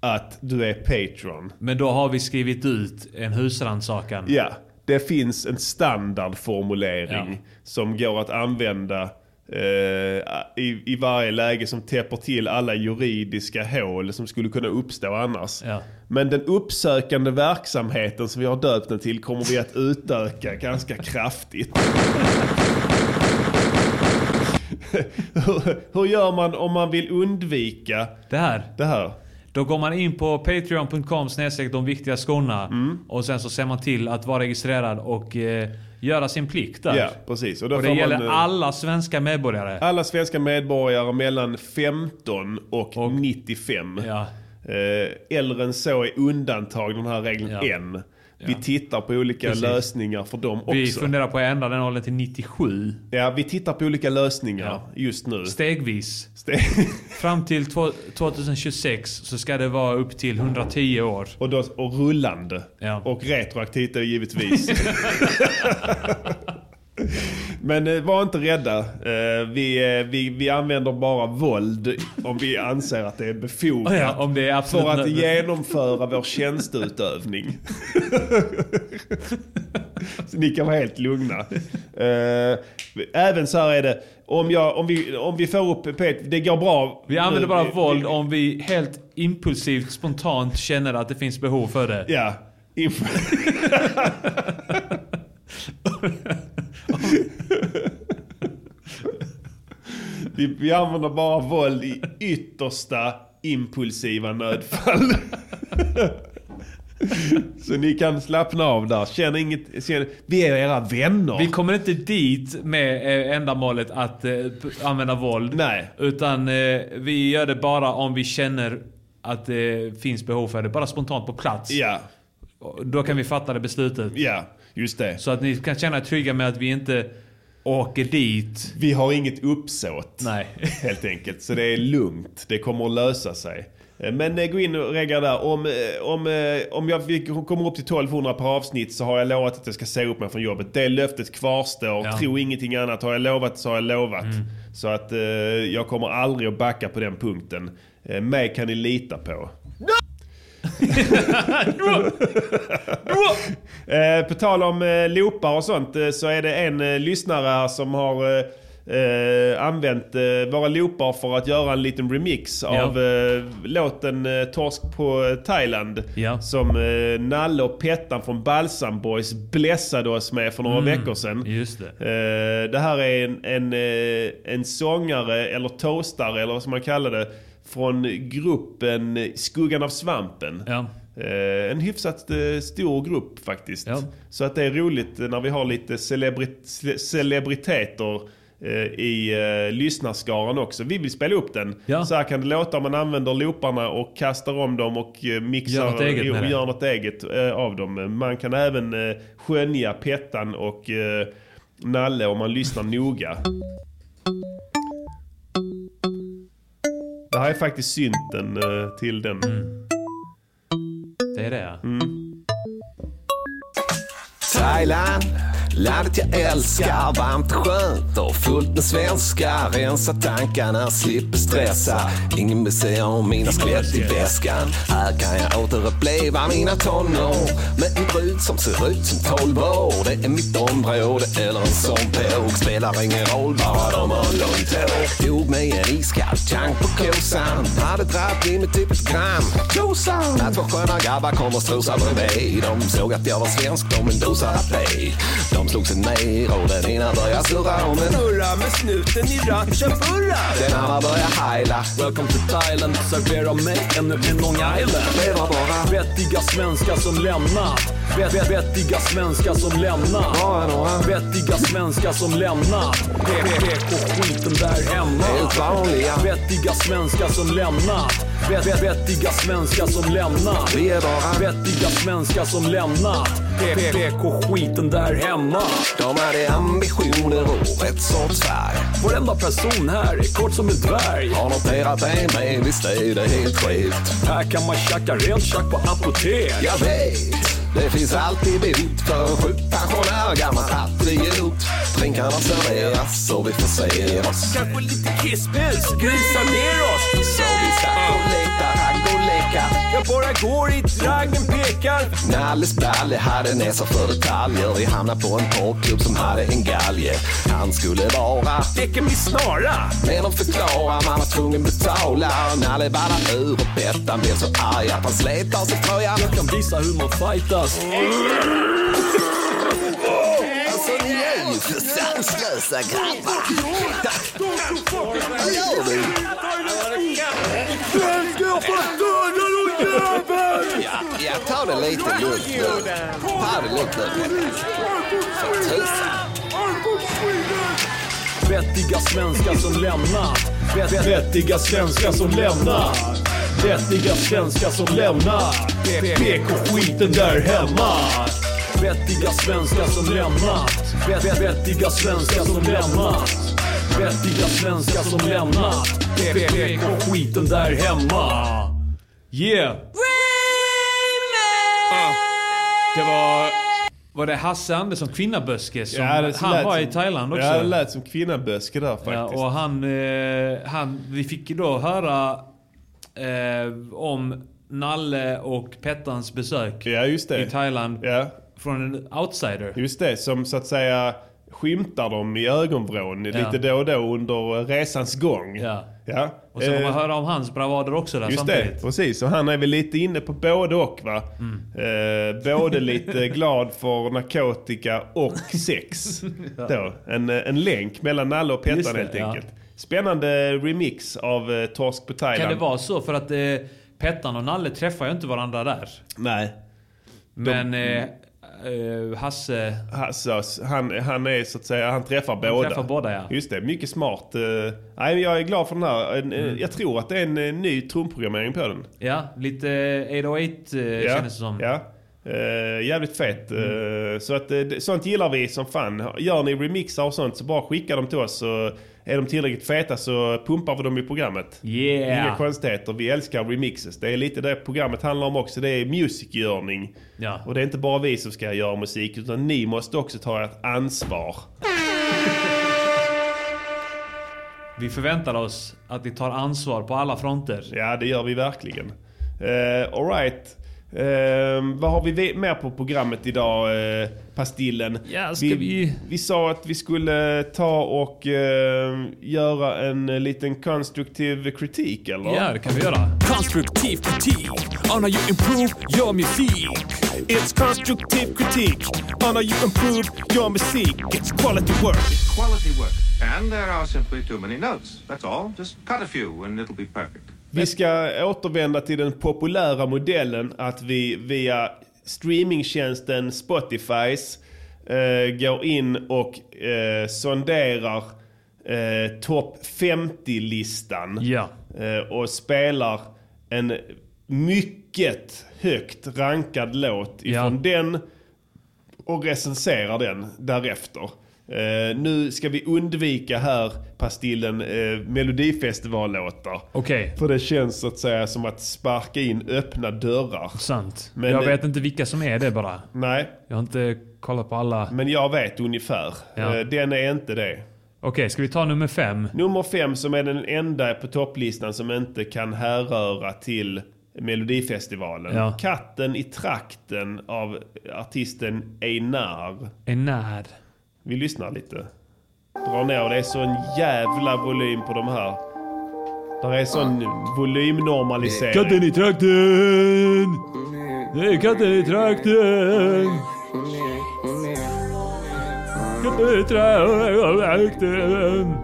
att du är Patreon. Men då har vi skrivit ut en husrannsakan. Ja, det finns en standardformulering Ja. som går att använda eh, i, i varje läge som täpper till alla juridiska hål som skulle kunna uppstå annars. Ja. Men den uppsökande verksamheten som vi har döpt den till kommer vi att utöka ganska kraftigt. hur, hur gör man om man vill undvika Det här. det här? Då går man in på patreon.com snedstreck de viktiga skorna. Mm. Och sen så ser man till att vara registrerad och eh, göra sin plikt där. Ja, precis. då Och det får gäller eh, alla svenska medborgare. Alla svenska medborgare mellan 15 och, Och- 95. Ja. Eh, Äldre än så är undantag den här regeln Ja. än. Vi tittar på olika Precis. lösningar för dem också. Vi funderar på att ändra den åldern till 97. Ja, vi tittar på olika lösningar Ja. just nu. Stegvis. Ste- Fram till två- 2026 så ska det vara upp till 110 år. och, då, och rullande. Ja. Och retroaktivt då givetvis. Men eh, var inte rädda. Eh, vi, eh, vi, vi använder bara våld om vi anser att det är befogat. Ja, om det är absolut För att nödvändigt. genomföra vår tjänsteutövning. så ni kan vara helt lugna. Eh, även så här är det. Om, jag, om, vi, om vi får upp Pet, det går bra. Vi använder nu. bara Vi- vi- våld om vi helt impulsivt, spontant känner att det finns behov för det. Ja. Inf- vi, vi använder bara våld i yttersta impulsiva nödfall. Så ni kan slappna av där. Känn inget, känn, vi är era vänner. Vi kommer inte dit med eh, ändamålet att eh, p- använda våld. Nej. Utan eh, vi gör det bara om vi känner att det finns behov för det. Bara spontant på plats. Ja, Och Då kan vi fatta det beslutet. ja, just det. Så att ni kan känna er trygga med att vi inte åker dit. Vi har inget uppsåt. Nej. Helt enkelt. Så det är lugnt. Det kommer att lösa sig. Eh, Men eh, gå in och regga där. Om, eh, om, eh, om jag vi kommer upp till 1200 per avsnitt så har jag lovat att jag ska säga upp mig från jobbet. Det löftet kvarstår. Ja. Mm. Tro ingenting annat. Har jag lovat så har jag lovat. Så att eh, jag kommer aldrig att backa på den punkten. Eh, mig kan ni lita på. Eh, på tal om eh, loopar och sånt eh, så är det en eh, lyssnare här som har eh, eh, använt eh, våra loopar för att göra en liten remix av eh, låten eh, Torsk på eh, Thailand. Ja. Som eh, Nalle och Pettan från Balsam Boys blessade oss med för några veckor sedan. Mm. Just det. Eh, Det här är en, en, eh, en sångare, eller toastare, eller vad som man kallar det, från gruppen Skuggan av svampen. Ja. Eh, En hyfsat eh, stor grupp faktiskt. Ja. Så att det är roligt när vi har lite celebrit- ce- celebriteter eh, i eh, lyssnarskaran också. Vi vill spela upp den. Ja. Så här kan det låta om man använder looparna och kastar om dem och eh, mixar Gör något eget med och det. gör något eget eh, av dem. Man kan även eh, skönja Pettan och eh, Nalle om man lyssnar noga. Det här är faktiskt synten eh, till den. Mm. Det är det. Mm. Thailand, landet jag älskar. Varmt, skönt och fullt med svenskar. Rensa tankarna, slipper stressa. Ingen vill se om mina skelett i väskan. Här kan jag återuppleva mina tonår. Med en brud som ser ut som 12 år. Det är mitt område, eller en sån påg. Spelar ingen roll, bara de har långt hår. Tog mig en iskall tank på kosan. Hade dragit i mig typ ett gram. Kosan! Att vara sköna grabbar kom och strosade bredvid. De såg att jag var svensk, de en dosa rapé. De slog sig ner och den ena började surra om en hurra med snuten i ratchen furra. Den andra började heila. Welcome to Thailand, servera mig ännu en Long Island. Det var bara vettiga svenskar som lämnat. Vet, vet, vettiga svenskar som lämnat. Bara några. Vettiga svenskar som lämnat. PK-skiten där hemma. Helt vanliga. Vettiga svenskar som lämnat. Vet, vet, vettiga svenskar som lämnat. Vi är bara. Vettiga svenskar som lämnat. PK-skiten där hemma. De hade ambitioner och ett sorts färg. Varenda person här är kort som en dvärg. Har noterat en, men visst är det helt skevt. Här kan man tjacka rent tjack på apotek. Jag vet. Det finns alltid bot för en sjuk pensionär, gammal patriot. Drinkarna serveras och vi förser oss. Kanske lite kissbus, grisa ner oss. Så vi satt och lekte ragg och leka. Jag bara går i draggen pekar. Nalles Bralle hade näsa för detaljer. Vi hamnade på en porrklubb som hade en galge. Han skulle vara... Däcken blir snara. Men de förklarar man var tvungen betala. Nalle ballar ur och Bettan blev så arg att han slet av sig tröjan. Jag kan visa hur man fightas. Alltså ni är ju för sanslösa grabbar. Vad gör du? Ja, ja, ta det lite lugnt nu. Ta det lite lugnt. För tusan. Vettiga svenskar som lämnat. Vet, vet, vettiga svenskar som lämnat. Vettiga svenskar som lämnar PK-skiten där hemma Vettiga svenskar som lämnat Vett- Vettiga svenskar som lämnat Vettiga svenskar som lämnat PK-skiten där hemma Yeah! Ah. Det var... Var det Hasse Andersson, Kvinnaböske, som... Ja, det lät han var som- i Thailand också. Ja, det lät som kvinnaböske där faktiskt. Ja, och han, eh, han... Vi fick ju då höra eh, om Nalle och Pettans besök i Thailand. Från en outsider. Just det, som så att säga skymtar dem i ögonvrån Ja. lite då och då under eh, resans gång. Ja. Ja. Och så får Eh, man höra om hans bravader också där Just samtidigt. Mm. det, precis. Och han är väl lite inne på både och va? Eh, både lite glad för narkotika och sex. Ja. då. En, eh, en länk mellan Nalle och Just Pettan det, helt ja. enkelt. Spännande remix av eh, Torsk på Thailand. Kan det vara så? För att eh, Pettan och Nalle träffar ju inte varandra där. Nej. Men eh, eh, Hasse... Hasse, han, han är så att säga, han träffar båda. träffar båda, ja. Just det, mycket smart. eh, nej, men jag är glad för den här. En, eh, Mm. Jag tror att det är en eh, ny trumprogrammering på den. Ja, lite 808 eh, ja, kändes det som. Mm. Ja. Eh, jävligt fet. eh, så att, eh, det- sånt gillar vi som fan. Gör ni remixar och sånt så bara skicka dem till oss. Så är de tillräckligt feta så pumpar vi dem i programmet. Yeah. Inga konstigheter. Vi älskar remixes. Det är lite det programmet handlar om också. Det är musikgörning. Ja. Och det är inte bara vi som ska göra musik utan ni måste också ta ert ansvar. Vi förväntar oss att ni tar ansvar på alla fronter. Ja, det gör vi verkligen. Uh, Alright. Uh, vad har vi ve- mer på programmet idag, eh, Pastillen? Ja, ska vi- vi sa att vi skulle ta och eh, göra en eh, liten konstruktiv kritik, eller? Ja, det kan vi göra. Constructive critique on how you improve your music. It's constructive critique on how you improve your music. It's quality work. Quality work. And there are simply too many notes. That's all. Just cut a few and it'll be perfect. Vi ska återvända till den populära modellen att vi via streamingtjänsten Spotifys eh, går in och eh, sonderar eh, topp 50-listan. Eh, och spelar en mycket högt rankad låt ifrån den och recenserar den därefter. Eh, nu ska vi undvika här, Pastillen, eh, Melodifestivallåtar. Okej. För det känns så att säga som att sparka in öppna dörrar. Sant. jag vet inte vilka som är det bara. Nej. Jag har inte kollat på alla. Men jag vet ungefär. Ja. Eh, Den är inte det. Okej, ska vi ta nummer fem? Nummer fem som är den enda på topplistan som inte kan härröra till Melodifestivalen. Ja. Katten i trakten av artisten Einar. Enad. Vi lyssnar lite. Dra ner. Det är sån jävla volym på de här. Där är sån volymnormalisering. Katten i trakten! Det är katten i trakten! Katten i trakten!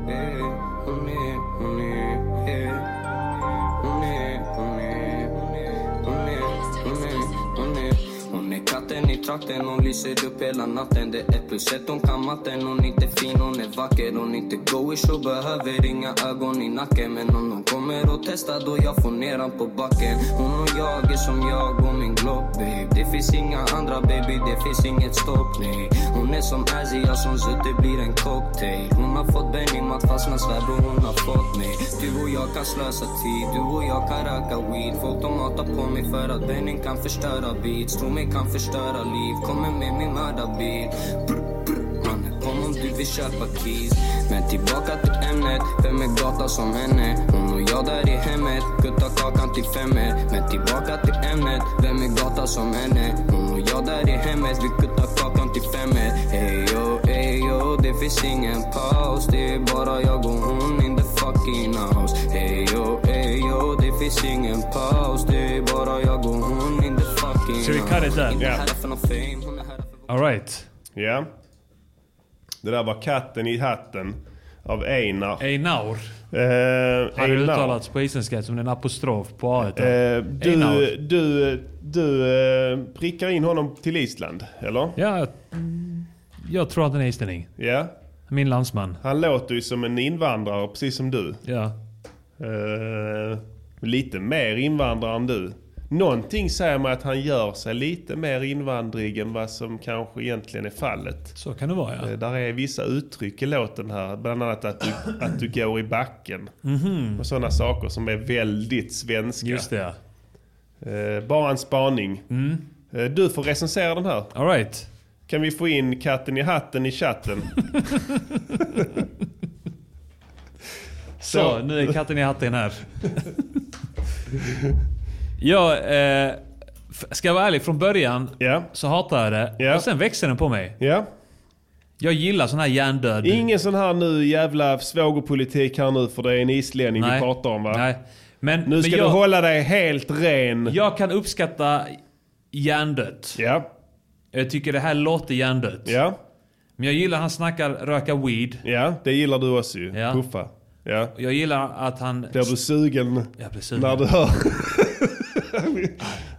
Hon är katten i trakten, hon lyser upp hela natten Det är plus ett, hon kan matten Hon är inte fin, hon är vacker Hon är inte goish och behöver inga ögon i nacken Men om hon kommer och testar då jag får ner han på backen Hon och jag är som jag och min Glock babe Det finns inga andra baby, det finns inget stopp nej Hon är som Azzy, jag som Zoot, det blir en cocktail Hon har fått Benim att fastna, svär bror hon har fått mig Du och jag kan slösa tid, du och jag kan röka weed Folk de hatar på mig för att Benim kan förstöra beats Tror mig kan förstöra liv, kommer med min mördarbil Mannen, Kom om du vill köpa keys Men tillbaka till ämnet Vem är gata som henne? Hon och jag där i hemmet Kutta kakan till femmer Men tillbaka till ämnet Vem är gata som henne? Hon och jag där i hemmet Vi kuttar kakan till femmer Eyo, eyo Det finns ingen paus Det är bara jag och hon in the fucking house Eyo, eyo Det finns ingen paus Det är bara jag och hon in the fucking house Ska vi cut it där? Inte Ja. här för någon fame Hon är här Alright. Ja. Det där var Katten i hatten av Einar. Einar. Eh, Hade det Einar. uttalats på isländska som en apostrof på a Eh, du du, du eh, prickar in honom till Island, eller? Ja, jag tror att han är islänning. Ja. Min landsman. Han låter ju som en invandrare, precis som du. Ja. Eh, Lite mer invandrare än du. Någonting säger mig att han gör sig lite mer invandrig än vad som kanske egentligen är fallet. Så kan det vara ja. Eh, Där är vissa uttryck i låten här. Bland annat att du, att du går i backen. Mhm. Och sådana saker som är väldigt svenska. Just Mm. det. Eh, bara en spaning. Eh, du får recensera den här. All right. Kan vi få in katten i hatten i chatten? Så, nu är katten i hatten här. jag, eh, f- ska jag vara ärlig, från början så hatade jag det. Och sen växte den på mig. Jag gillar sån här hjärndöd. Ingen sån här nu jävla svågerpolitik här nu för det är en islänning Nej. vi pratar om va? Nej. Men, nu ska men du jag- hålla dig helt ren. Jag kan uppskatta hjärndött. Ja. Jag tycker det här låter hjärndött. Ja. Men jag gillar han snackar röka weed. Ja, det gillar du också ju. Ja. Puffa. Ja. Jag gillar att han... Blir du sugen Jag blir sugen. när du hör...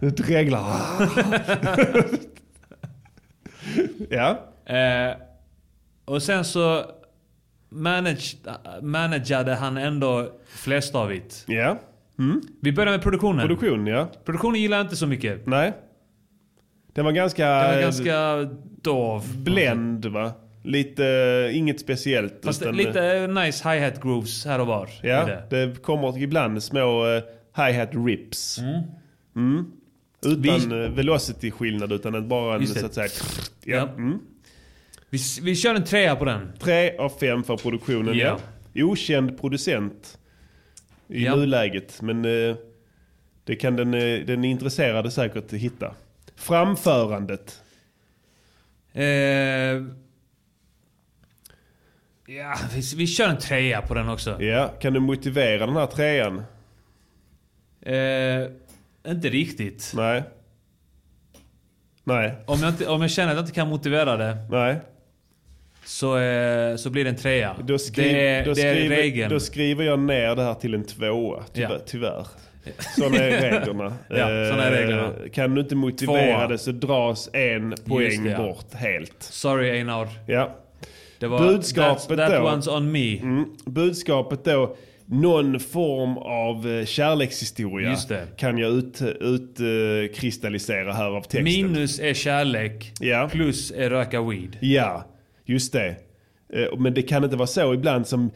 du dreglar. ja. Eh, och sen så manage, managade han ändå flest av it. Ja. Vi börjar med produktionen. Produktion, ja. Produktionen gillar jag inte så mycket. Nej. Den var ganska... Den var ganska dov. Bländ va? Lite, eh, inget speciellt. Fast utan- eh, lite nice hi-hat grooves här och var. Ja, Är det. det kommer ibland små eh, hi-hat rips. Mm. Utan eh, velocity-skillnad utan att bara en Just det. så att säga... Ja. Mm. Ja. Vi, vi kör en trea på den. Tre av fem för produktionen ja. Okänd producent i Ja. nuläget. Men eh, det kan den, eh, den intresserade säkert hitta. Framförandet. Eh, Ja, vi, vi kör en trea på den också. Ja, kan du motivera den här trean? Eh, inte riktigt. Nej. Nej. Om jag, inte, om jag känner att jag inte kan motivera det. Nej. Så, eh, så blir det en trea. Då, skri- det, är- då, det är skriver, regeln. då skriver jag ner det här till en tvåa, tyvärr. Ja. tyvärr. Sådana är reglerna. Ja, såna är Eh, reglerna. Kan du inte motivera Tvåa. det så dras en poäng det, ja. bort helt. Sorry Einar. Ja. Det var, budskapet that's- that då. one's on me. Mm, budskapet då. Någon form av eh, kärlekshistoria Just det. kan jag utkristallisera ut, eh, kristallisera här av texten. Minus är kärlek. Ja. Plus är röka weed. Ja, just det. Eh, Men det kan inte vara så ibland som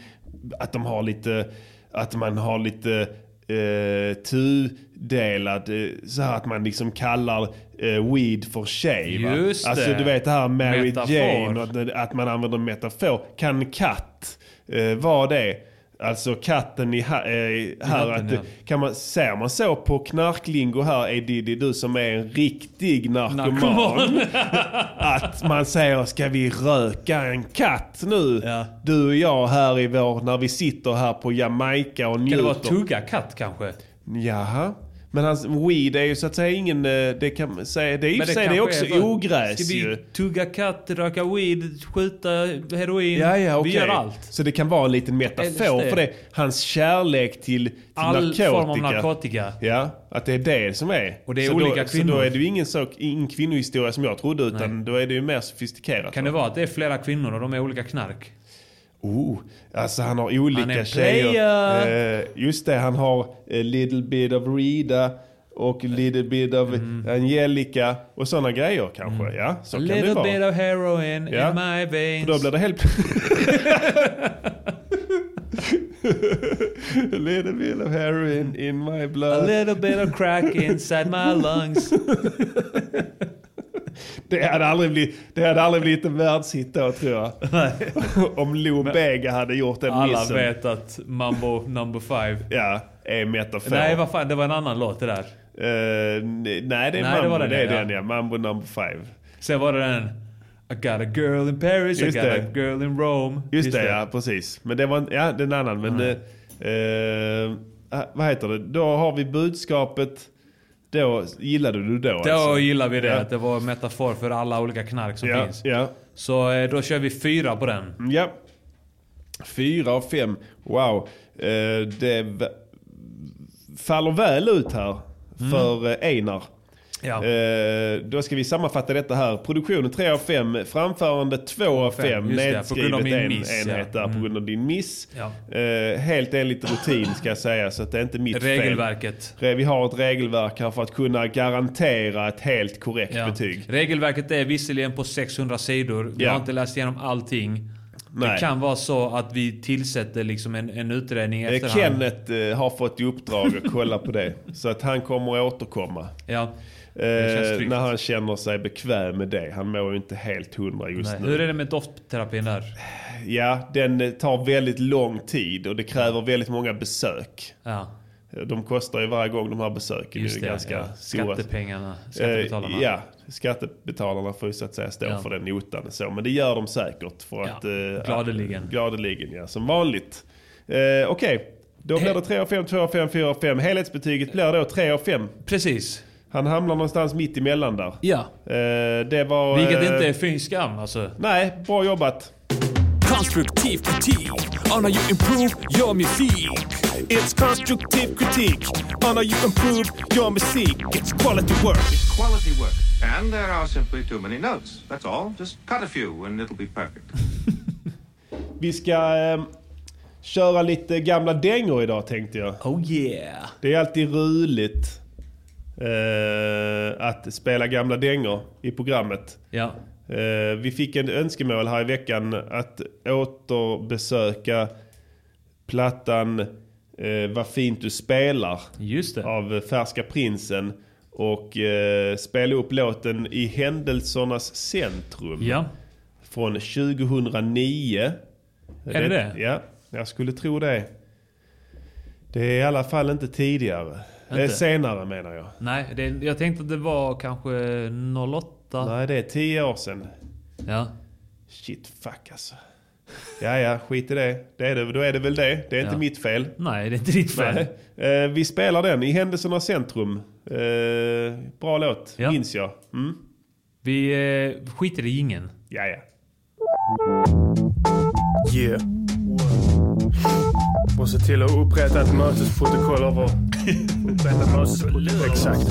att de har lite, att man har lite eh, tudelad, eh, så här att man liksom kallar eh, weed för tjej. va? Just Alltså det. du vet det här Mary Metafor. Jane, och att, att man använder metafor. Kan katt eh, vara det? Alltså katten i ha, eh, här, hatten, att, ja. kan man, ser man så på knarklingo här, är Diddy du som är en riktig narkoman Narkoman. att man säger ska vi röka en katt nu? Du och jag här i vår, när vi sitter här på Jamaica och Kan det njuter. vara tugga katt kanske? Jaha. Men hans weed är ju så att säga ingen, eh, det kan man säga, det är i och för sig det är också kanske är för- ogräs Ska vi ju. tugga katt, röka weed, skjuta heroin? Ja, ja, okej. Vi gör allt. Så det kan vara en liten metafor LSD. för det. Hans kärlek till, till All narkotika. form av narkotika. Ja, att det är det som är. Och det är så olika då, Så kvinnor. då är det ju ingen, sak, ingen kvinnohistoria som jag trodde utan då är det ju mer sofistikerat. Kan det vara att det är flera kvinnor och de är olika knark? Oh, alltså han har olika Han är tjejer. player. Eh, just det, han har a little bit of Rita och a little bit of Mm. Angelica och sådana grejer kanske. Ja, så A kan det Mm. little vara. bit of heroin Ja. in my veins. För då blir det helt... a little bit of heroin in my blood. A little bit of crack inside my lungs. Det hade aldrig blivit, det hade aldrig blivit en världshit då tror jag. Om Lou Bega hade gjort den Alla missen. vet att Mambo number five. Ja, är metafor. Nej, vad fan, det var en annan låt det där. Eh, nej, nej, det är Nej, Mambo. det var den, det är ja. den ja. Mambo number five. Sen var det den... I got a girl in Paris, Just I got det. a girl in Rome. Just, det, ja precis. Men det var en, ja, den annan. Men Mm. eh, eh, ah, vad heter det? Då har vi budskapet. Då gillade du då Då alltså? gillar vi det, Ja. att det var en metafor för alla olika knark som Ja, finns. ja. Mm, Så eh, då kör vi fyra på den. ja. Fyra av fem. Wow. Eh, det v- faller väl ut här för eh, Einar. Mm. Ja. Eh, då ska vi sammanfatta detta här. Produktionen 3 av 5, framförande 2 av 5, Just det, på grund nedskrivet av min en miss, ja. Mm. enhet där på grund av din miss. Ja. Eh, helt enligt rutin ska jag säga, så att det är inte mitt Regelverket. fel. Re- Vi har ett regelverk här för att kunna garantera ett helt korrekt Ja. betyg. Regelverket är visserligen på 600 sidor. Vi Ja. har inte läst igenom allting. Det Nej. kan vara så att vi tillsätter liksom en, en utredning i Eh, efterhand. Kenneth eh, har fått i uppdrag att kolla på det. Så att han kommer att återkomma. Ja. Det känns Eh, tryggt. när han känner sig bekväm med det. Han mår ju inte helt hundra just Nej. nu. Hur är det med doftterapin där? Ja, den eh, tar väldigt lång tid och det kräver väldigt många besök. Ja. Eh, De kostar ju varje gång de här besöken. Just är ju det, ganska ja. stora. Skattepengarna, skattebetalarna. Eh, ja, skattebetalarna får ju så att säga stå Ja. för den notan. och Så. Men det gör de säkert. För att, eh, gladeligen. att- gladeligen, ja. Som vanligt. Eh, Okej, då blir det 3 av 5, 2 av 5, 4 av 5. Helhetsbetyget blir då 3 av 5. Precis. Han hamnar någonstans mitt emellan där. Ja. Eh, det var... Vilket eh, inte är fy skam alltså. Nej, bra jobbat. Konstruktiv kritik on how you improve your music. It's constructive critique on how you improve your music. It's quality work. It's quality work. And there are simply too many notes. That's all. Just cut a few and it'll be perfect. Vi ska eh, köra lite gamla dängor idag tänkte jag. Oh yeah. Det är alltid roligt eh, att spela gamla dängor i programmet. Ja. Eh, vi fick en önskemål här i veckan att återbesöka plattan eh, Vad fint du spelar Just det. av eh, Färska Prinsen och eh, spela upp låten I händelsernas centrum Ja. från 2009. Är det det? Ja, jag skulle tro det. Det är i alla fall inte tidigare. Det är Inte? senare menar jag. Nej, det, jag tänkte att det var kanske 08. Nej, det är tio år sedan. Ja. Shit, fuck alltså. Ja, ja, skit i det. det, är det då är det väl det. Det är inte Ja. mitt fel. Nej, det är inte ditt fel. Nej. Eh, vi spelar den i händelsernas centrum. Eh, bra låt, Ja. minns jag. Mm. Vi eh, skiter i ingen. Ja, ja. Yeah. Och se till att upprätta ett mötesprotokoll över... Upprätta mötesprotokoll. Exakt.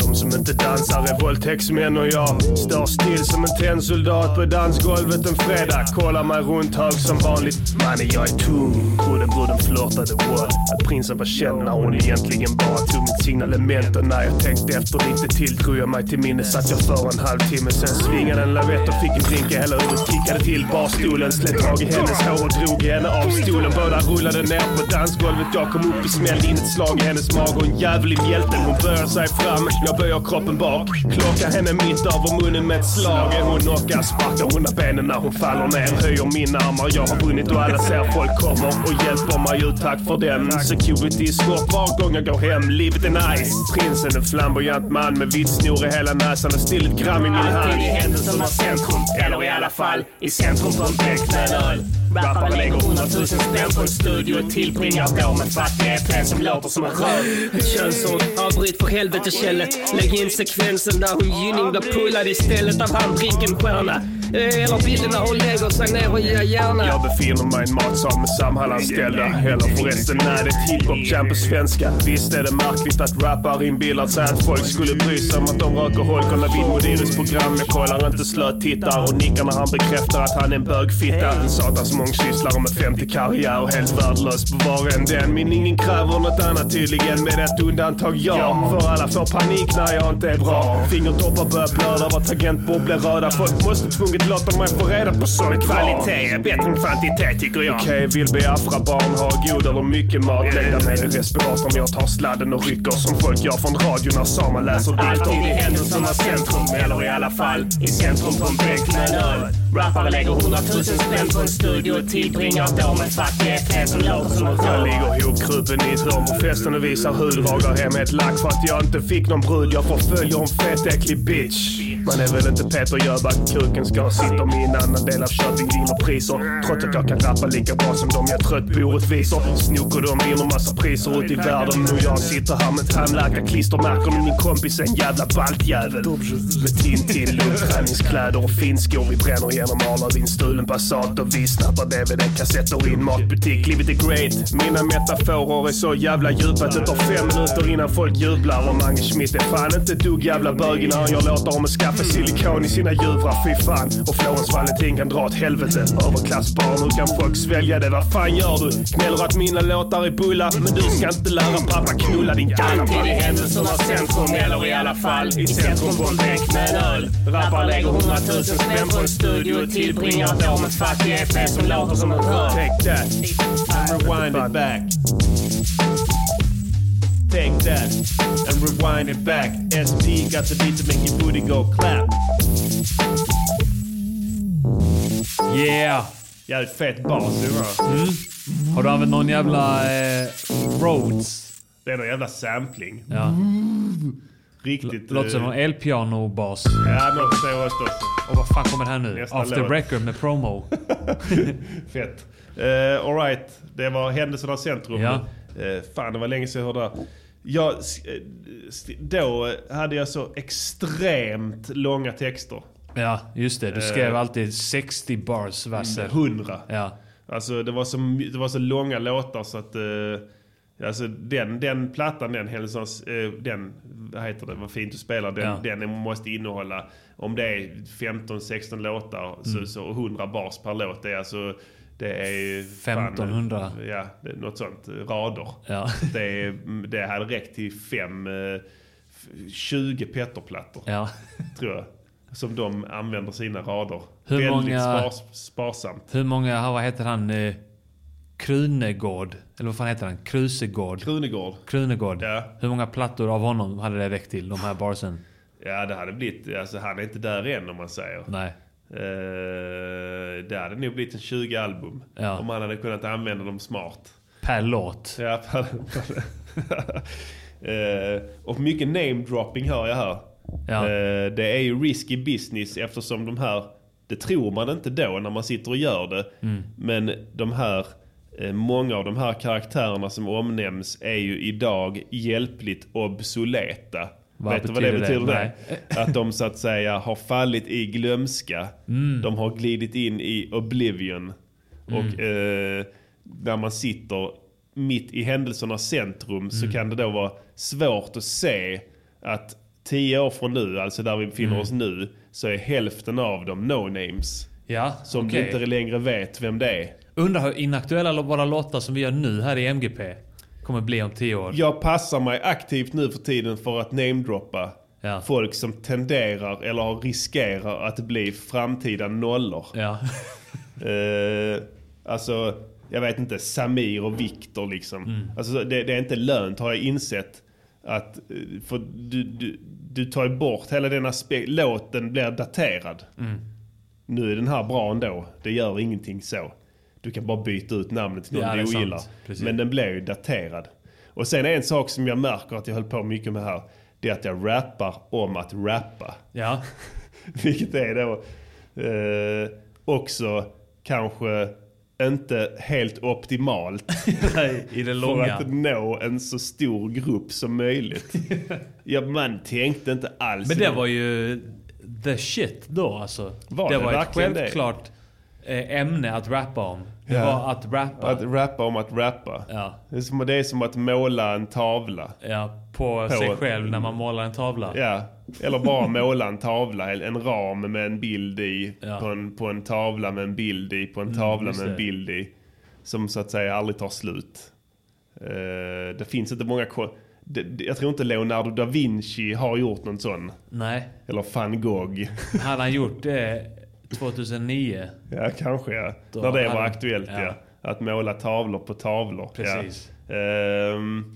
De som inte dansar är våldtäktsmän och jag står still som en tennsoldat på dansgolvet en fredag. Kollar mig runt hög som vanligt. Mannen, jag är tung. Trodde bruden flörtade wall. Att prinsen var känd när hon egentligen bara tog mitt signalement. Och när jag tänkte efter lite till drog jag mig till minnes att jag för en halvtimme sen svingade en lavett och fick en drink i hela huvudet. Kickade till barstolen, slet tag i hennes hår och drog henne av stolen. Båda rullade ner på dansgolvet. Jag kom upp och smällde in ett slag i hennes mage och en jävlig hjälte. Hon böjer sig fram, jag böjer kroppen bak. Klockar henne mitt över munnen med ett slag. Hon knockar, sparkar undan benen när hon faller ner. Höjer mina armar, jag har vunnit och alla ser folk kommer och hjälper mig ut. Tack för den. Security is svårt var gång jag går hem. Livet är nice. Prinsen, en flamboyant man med vitt snor i hela näsan och still ett gram i min hand. Alltid i händelsernas centrum, eller i alla fall i centrum för en bäck med en öl. Rapparna lägger hundratusen spänn på en studio och tillbringar ett år med fattighetsträn som låter som en röv. Ett könsord, avbryt för helvete Kjellet. Lägg in sekvensen där hon Gynning blir pullad istället av han Drinkenstierna. Eh, Eller bilden när hon lägger sig ner och gör hjärna. Jag befinner mig i en matsal med Samhallanställda. Eller förresten, nej det är ett hiphop-jam på svenska. Visst är det märkligt att rappare inbillar sig att folk skulle bry sig om att de röker hål. Kolla Vid Modiris program, jag kollar inte slött, tittar och nickar när han bekräftar att han är en bögfitta. En satans mångsysslare med 50 karriär och helt värdelös på var en den. Men ingen kräver något annat tydligen, med ett undantag jag. För alla får panik när jag inte är bra. Fingertoppar börjar blöda, våra tangentbord blir röda. Folk måste Alltså, tvunget låta mig få reda på sånt. Kvalitet är bättre än kvantitet tycker jag. Mm. Okej, vill Biafra-barn ha god eller mycket mat? Lägga mig i respiratorn, jag tar sladden och rycker som folk gör från radio när Sama läser dikter. Alltid i händelsernas centrum, eller i alla fall i centrum på en bäck med en öl. Rappare lägger hundratusen spänn på en studio och tillbringar ett år med fattighetsträn som låter som en Jag röv. ligger ihopkrupen i ett hörn på festen och visar hud. Ragar hem ett lack för att jag inte fick någon brud. Jag förföljer en fet äcklig bitch. Man är väl inte Peter Jöback, kuken ska sitta om i en annan del av Köping vinner priser. Trots att jag kan rappa lika bra som dem, jag är trött på orättvisor. Snokor de vinner massa priser ut i världen. Och jag sitter här med tandläkarklister, märker ni min kompis en jävla baltjävel. Med Tintin, lungträningskläder och finskor. Vi bränner genom Aladdin, stulen Passat och vi snappar DVD-kassetter i en matbutik. Livet är great. Mina metaforer är så jävla djupa att det tar fem minuter innan folk jublar. Och Mange Schmidt är fan inte ett dugg jävla bög när jag låter honom skaffa silikon i sina djuvrar. Fy fan. Och Florens Valentin kan dra åt helvete. Överklassbarn, hur kan folk svälja det? Vad fan gör du? Gnäller att mina låtar är bulla. Men du ska inte lära pappa knulla din jävla Alltid i händelsernas centrum, eller i alla fall i centrum på en bänk med en öl. Rappar lägger hundratusen spänn på en studio och tillbringar ett år med ett fattig EP som låter som en rör. Take that and rewind it back. Take that and rewind it back. SP got the beat to make your booty go clap. Yeah! Jävligt fet bas det var. Mm. Har du använt någon jävla eh, Rhodes? Det är någon jävla sampling. Ja. Riktigt... Låter som eh, en elpianobas. Ja, men också jag också. Och vad fan kommer här nu? Nästa Off the låt. record med promo. Fett. Uh, Alright, det var händelsernas centrum. Ja. Eh, fan, det var länge sedan jag hörde det. här. Jag, eh, st- då eh, hade jag så extremt långa texter. Ja, just det. Du skrev Eh, Mm. alltid 60 bars verser. 100. Ja. Alltså det var så, my- det var så långa låtar så att... eh, alltså den, den plattan, den hälsans, eh, den, vad heter det, vad fint du spelar, den, Ja. den måste innehålla, om det är 15-16 låtar, så, Mm. så 100 bars per låt. Det är alltså, det är... fan, 1500. ja, det, något sånt. Rader. Ja. Det, är- det hade räckt till fem, eh, f- 20 Petterplattor. Ja. Tror jag. Som de använder sina rader. Hur Väldigt många- spars, sparsamt. Hur många, han- vad heter han? eh, Krunegård? Eller vad fan heter han? Krusegård? Krunegård. Krunegård. Hur många plattor av honom hade det räckt till, de här barsen? Ja, det hade blivit... Alltså han är inte där än om man säger. Nej. Eh, det hade nog blivit en 20 album. Ja. Om han hade kunnat använda dem smart. Per låt. Ja, per, per, Eh, och mycket namedropping hör jag här. Eh, det är ju risky business eftersom de här, det tror man inte då när man sitter och gör det. Mm. Men de här, eh, många av de här karaktärerna som omnämns är ju idag hjälpligt obsoleta. Vad Vet du vad det betyder det? betyder? Det? Att de så att säga har fallit i glömska. Mm. De har glidit in i oblivion. Och eh, när man sitter mitt i händelsernas centrum så Mm. kan det då vara svårt att se att tio år från nu, alltså där vi befinner Mm. oss nu, så är hälften av dem no-names. Ja, som okej. inte längre vet vem det är. Undrar hur inaktuella lo- våra låtar som vi gör nu här i MGP kommer bli om 10 år. Jag passar mig aktivt nu för tiden för att namedroppa folk som tenderar eller riskerar att bli framtida nollor. Ja. Eh, alltså, jag vet inte, Samir och Viktor liksom. Mm. Alltså, det, det är inte lönt har jag insett. Att, eh, för du, du, du tar ju bort hela den aspekten, låten blir daterad. Mm. Nu är den här bra ändå, det gör ingenting så. Du kan bara byta ut namnet till någon Ja, det du är sant. ogillar. Precis. Men den blir ju daterad. Och sen är en sak som jag märker att jag höll på mycket med här. Det är att jag rappar om att rappa. Ja. Vilket är då eh, också kanske inte helt optimalt. I det För långa. att nå en så stor grupp som möjligt. ja, man tänkte inte alls. Men det var ju the shit då alltså. Var det det var ett verkligen det? självklart eh, ämne att rappa om. Det Ja. var att rappa. Att rappa om att rappa. Ja. Det, är som, det är som att måla en tavla. Ja, på, sig själv när man målar en tavla. Ja, eller bara måla en tavla, en- en ram med en bild i, på, en, på en tavla med en bild i, på en Mm, tavla just med en det. bild i. Som så att säga aldrig tar slut. Eh, det finns inte många... ko- det- det- Jag tror inte Leonardo da Vinci har gjort någon sån. Nej. Eller van Gogh. Hade han gjort eh, det 2009? Ja, kanske ja. Då När det hade- var aktuellt ja. ja. Att måla tavlor på tavlor. Precis. Ja. Ehm,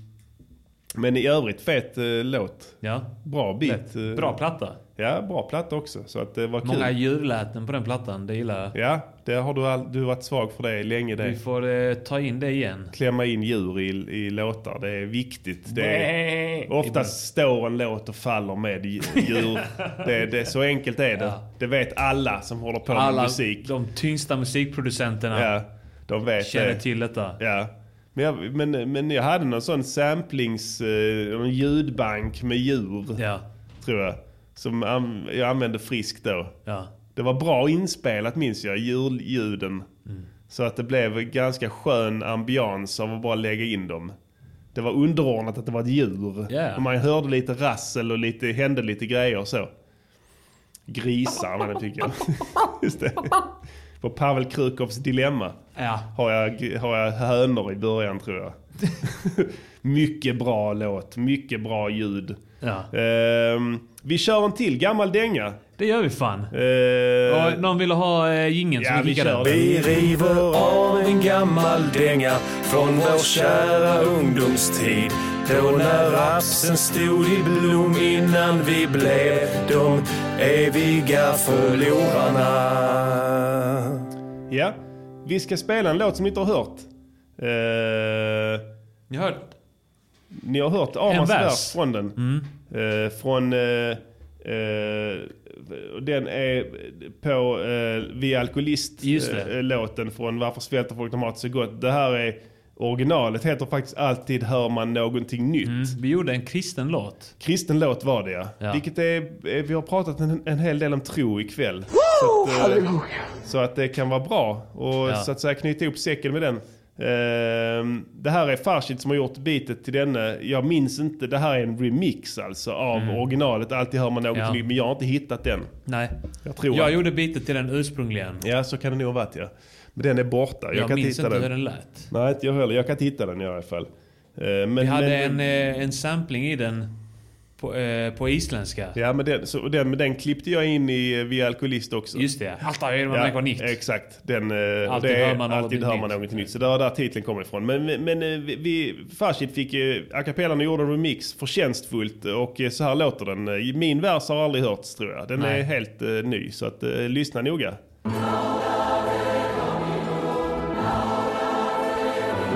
men i övrigt fet eh, låt. Ja. Bra bit. Lätt. eh, Bra platta. Ja, bra platta också. Så att det var kul. Många julläten på den plattan, det gillar jag. Ja, det har du, all, du har varit svag för det länge det. Vi får eh, ta in det igen. Klämma in djur i, i låtar, det är viktigt. Det är, oftast står en låt och faller med djur. det, det, så enkelt är det. Det vet alla som håller på med Alla musik. de tyngsta musikproducenterna Ja, de vet känner det. till detta. Ja. Men jag, men, men jag hade någon sån samplings... eh, En ljudbank med djur. Tror jag. Som an- jag använde friskt då. Det var bra inspelat minns jag, julljuden. Så att det blev ganska skön ambians av att bara lägga in dem. Det var underordnat att det var ett djur. Ja. Och man hörde lite rassel och lite, hände lite grejer och så. Grisar men det tycker jag. Just det. På Pavel Krukovs dilemma Ja. har, jag, har jag hönor i början tror jag. mycket bra låt, mycket bra ljud. Ja. Ehm, vi kör en till gammal dänga. Det gör vi fan. Uh, Och någon vill ha eh, jingeln Ja, som vi vi skickade. kör den. Vi river av en gammal dänga från vår kära ungdomstid. Då när rapsen stod i blom innan vi blev de eviga förlorarna. Ja, vi ska spela en låt som ni inte har hört. Eh, ni, har... hört Amans En vers. Mm. vers från den. Eh, från... eh, eh, den är på eh, Vi är alkoholist Just det. eh, låten från Varför svälter folk när mat är så gott. Det här är originalet heter faktiskt Alltid hör man någonting nytt. Vi gjorde en kristen låt. Kristen låt var det ja. Ja. Vilket är, eh, vi har pratat en, en hel del om tro ikväll. Woo! Så att, eh, så att det kan vara bra. Och Ja. så att säga knyta ihop säcken med den. Ehm, det här är Farshid som har gjort beatet till denne. Jag minns inte, det här är en remix alltså av Mm. originalet. Alltid hör man något Ja. nytt, men jag har inte hittat den. Nej. Jag tror jag att- gjorde bitet till den ursprungligen. Ja, så kan det nog ha varit ja. Men den är borta. Jag, Jag kan minns inte hitta inte den. hur den lät. Nej, inte jag heller. Jag kan inte hitta den i alla fall. Eh, men, Vi hade men, en, eh, en sampling i den på, eh, på isländska. Ja, men den, så, och den, men den klippte jag in i eh, Via Alkoholist också. Just det. Alltid hör man något nytt. Exakt. Den, eh, Alltid det är, hör man något alltid hör man nytt. något nytt. Så det var där titeln kommer ifrån. Men, men, men eh, vi- vi, Farshid fick eh, a cappellan och gjorde en remix förtjänstfullt. Och eh, så här låter den. Eh, Min vers har aldrig hörts tror jag. Den Nej. är helt eh, ny. Så att, eh, lyssna noga.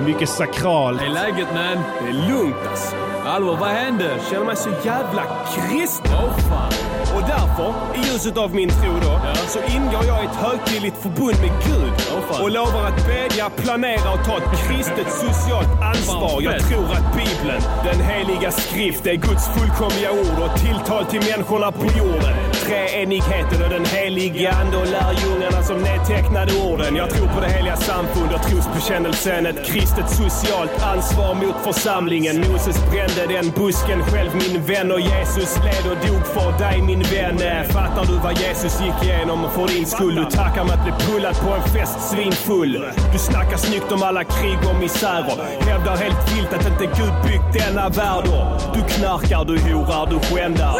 Mycket sakralt. Det är läget man. Det är lugnt alltså. Allvar, vad hände? Känner mig så jävla kristen. Åh fan. Och därför, i ljuset av min tro då, så ingår jag i ett högtidligt förbund med Gud. och lovar att bedja, planera och ta ett kristet socialt ansvar. Fan, Jag fett. tror att Bibeln, den heliga skrift, är Guds fullkomliga ord och tilltal till människorna på jorden. Treenigheten och den heliga ande och lärjungarna som nedtecknade orden. Jag tror på det heliga samfund och trosbekännelsen. Ett kristet socialt ansvar mot församlingen. Moses brände den busken själv min vän och Jesus led och dog för dig min vän. Eh, Fattar du vad Jesus gick igenom för din skull? Du tackar med att bli pullad på en fest svinfull. Du snackar snyggt om alla krig och misärer. Hävdar helt vilt att inte Gud byggt denna värld. Och Du knarkar, du horar, du skändar.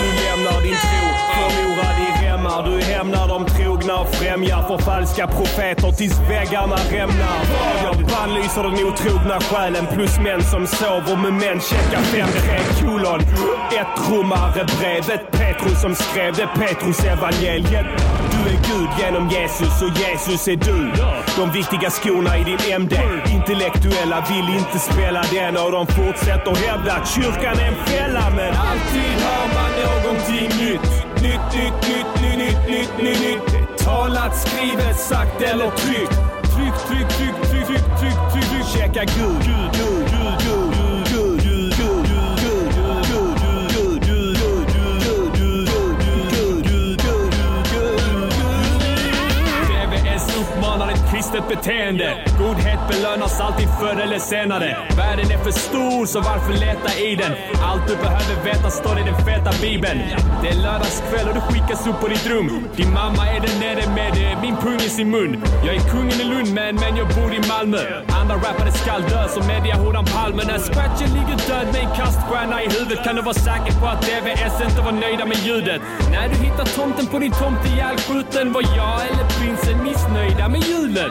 Du lämnar din tro, förlorar din remmar. Du hämnar de trogna och främjar förfalska profeter tills väggarna rämnar. Jag bannlyser den otrogna själen plus män som sover med män checkar 5 3 kolon. Ett romarbrevet Petrus som skrev det, Petrus evangeliet. Du är Gud genom Jesus och Jesus är du. De viktiga skorna i din MD. Intellektuella vill inte spela den och de fortsätter hävda att kyrkan är en fälla men alltid hör man någonting nytt. Nytt, nytt, nytt, nytt, nytt, nytt, nytt, nytt. Talat, skrivet, sagt eller tryckt. Tryck, tryck, tryck, tryck, tryck, tryck, tryck, tryck. Checka Gud, Gud, Gud, Gud, Gud, Gud, Gud, Gud, Gud, Gud, Gud, Gud, Gud, Gud, Gud, Gud, Gud, Gud, Gud, Gud, Gud, Gud, Gud. VVS uppmanar ett kristet beteende. Godhet belönas alltid förr eller senare. Världen är för stor, så varför leta i den? Allt du behöver veta står i den feta bibeln. Det är lördagskväll och du skickas upp på ditt rum. Din mamma är där nere med eh, min pung i sin mun. Jag är kungen i Lund, men, men jag bor i Malmö. Andra rappare skall dö, som mediahoran Palme. När scratchen ligger död med en kaststjärna i huvudet kan du vara säker på att DVS inte var nöjda med ljudet. När du hittar tomten på din tomt ihjälskjuten var jag eller prinsen missnöjda med julen.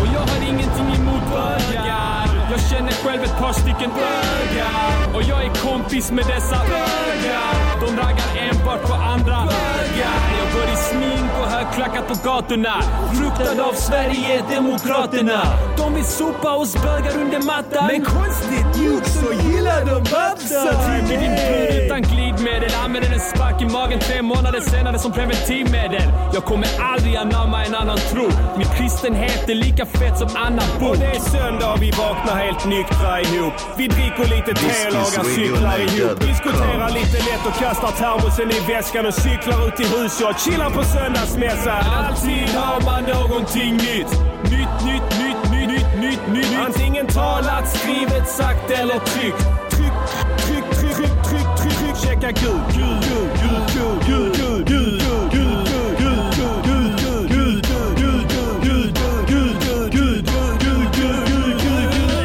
Och jag har ingenting emot bögar. Jag känner själv ett par stycken bögar. Och jag är kompis med dessa bögar. De raggar enbart på andra bögar. Jag går i smink och högklackat på gatorna. Fruktad av Sverigedemokraterna. De vill sopa oss bögar under mattan. Men konstigt nog så gillar de Babsan. Typ i din brud utan glidmedel. Använder en spark i magen tre månader senare som preventivmedel. Jag kommer aldrig anamma en annan tro. Min kristenhet är lika fet som Anna Och det är söndag vi vaknar helt nyktra ihop. Vi dricker lite te och lagar cyklar ihop. Diskuterar lite lätt och kastar termosen i väskan och cyklar ut till huset. Chillar på söndagsmässa. Alltid har man någonting nytt. Nytt, nytt, nytt, nytt, nytt, nytt, nytt. Antingen talat, skrivet, sagt eller tryckt. Tryck, tryck, tryck, tryck, tryck, tryck, tryck. Checka gul, gul, gul, gul, gul, gul, gul, gul, gul, gul, gul, gul, gul, gul, gul, gul, gul, gul, gul, gul, gul, gul, gul, gul, gul, gul, gul, gul, gul, gul.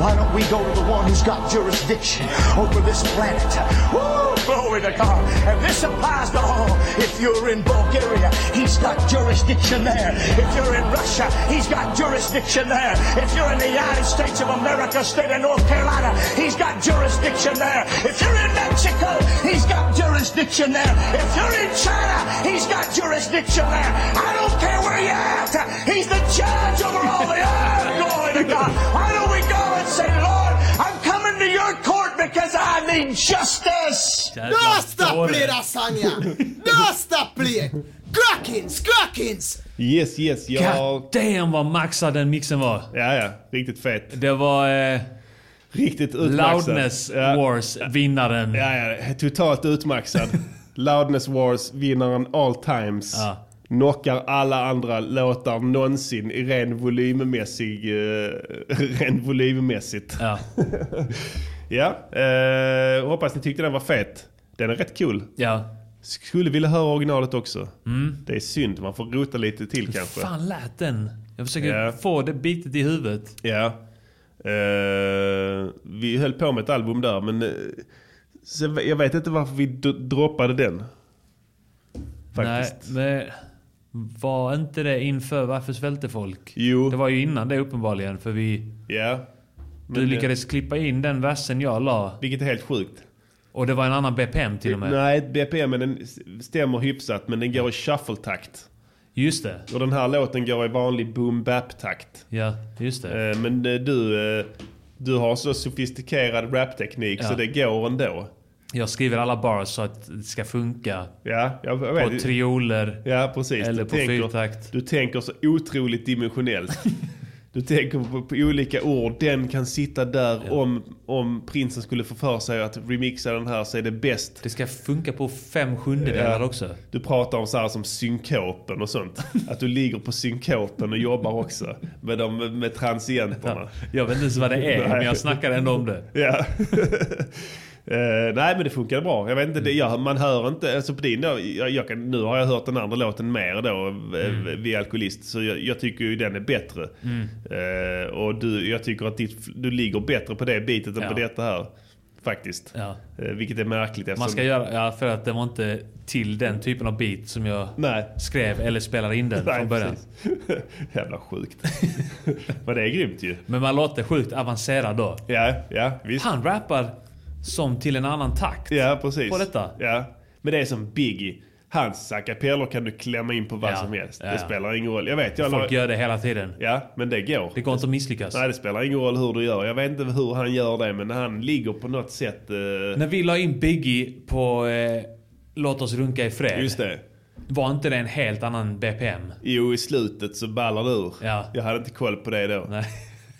Why don't we go to the one who's got jurisdiction over this planet? Woo! Glory to God. And this applies to all. If you're in Bulgaria, he's got jurisdiction there. If you're in Russia, he's got jurisdiction there. If you're in the United States of America, state of North Carolina, he's got jurisdiction there. If you're in Mexico, he's got jurisdiction there. If you're in China, he's got jurisdiction there. I don't care where you're at. He's the judge over all the earth. Glory to God. Why don't we go and say, Lord, I'm coming to your court because I need justice. Dosta plir lasagna! Dosta plir! Crackins, crackins! Yes, yes. Jag... God damn vad maxad den mixen var. Ja, ja. Riktigt fet. Det var... Eh... Riktigt utmaxad. Loudness Ja. Wars, vinnaren. Ja, ja. Totalt utmaxad. Loudness Wars, vinnaren all times. Ja. Knockar alla andra låtar någonsin i ren volymmässig... eh, ren volymmässigt. Ja. ja eh, hoppas ni tyckte den var fet. Den är rätt cool. Ja. Skulle vilja höra originalet också. Mm. Det är synd, man får rota lite till kanske. fan lät den? Jag försöker Ja. få det bitet i huvudet. Ja. Eh, vi höll på med ett album där men eh, sen, jag vet inte varför vi d- droppade den. Faktiskt. Nej, men var inte det inför Varför svälte folk? Jo. Det var ju innan det uppenbarligen för vi... Ja. Du Men, eh, lyckades klippa in den versen jag la. Vilket är helt sjukt. Och det var en annan BPM till och med. Nej, BPM en den stämmer hyfsat men den går i shuffle-takt. Just det. Och den här låten går i vanlig boom-bap-takt. Ja, just det. Eh, Men eh, du, eh, du har så sofistikerad rapteknik så Ja. det går ändå. Jag skriver alla bars så att det ska funka. Ja, jag, jag På vet. trioler. Ja, precis. Eller Du på tänker- fyrtakt. Du tänker så otroligt dimensionellt. Du tänker på, på olika ord. Den kan sitta där om, om prinsen skulle få för sig att remixa den här så är det bäst. Det ska funka på fem sjundedelar Ja. också. Du pratar om så här som synkopen och sånt. Att du ligger på synkopen och jobbar också. Med, de, med transienterna. Jag vet inte ens vad det är, Nej. men jag snackar ändå om det. Ja. Eh, nej men det funkade bra. Jag vet inte, det, jag, man hör inte, alltså på din då, jag, jag kan, nu har jag hört den andra låten mer då, mm. Vi är alkoholist, så jag, jag tycker ju den är bättre. Mm. Eh, och du, jag tycker att ditt, du ligger bättre på det bitet än Ja. på detta här. Faktiskt. Ja. Eh, vilket är märkligt eftersom... Man ska göra, ja, för att det var inte till den typen av beat som jag Nej. skrev eller spelade in den Nej, från början. precis. Jävla sjukt. Men det är grymt ju. Men man låter sjukt avancerad då. Ja, ja, visst. Han rappar som till en annan takt. Ja, precis. På detta. Ja. Men det är som Biggie. Hans a cappellor kan du klämma in på vad Ja, som helst. ja, Det ja. spelar ingen roll. Jag vet, jag Folk gör det hela tiden. Ja, men det går. Det går inte att misslyckas. Nej, det spelar ingen roll hur du gör. Jag vet inte hur han gör det, men han ligger på något sätt... eh, När vi la in Biggie på eh, Låt oss runka i fred. Just det. Var inte det en helt annan BPM? Jo, i slutet så ballar det ur. Ja. Jag hade inte koll på det då. Nej.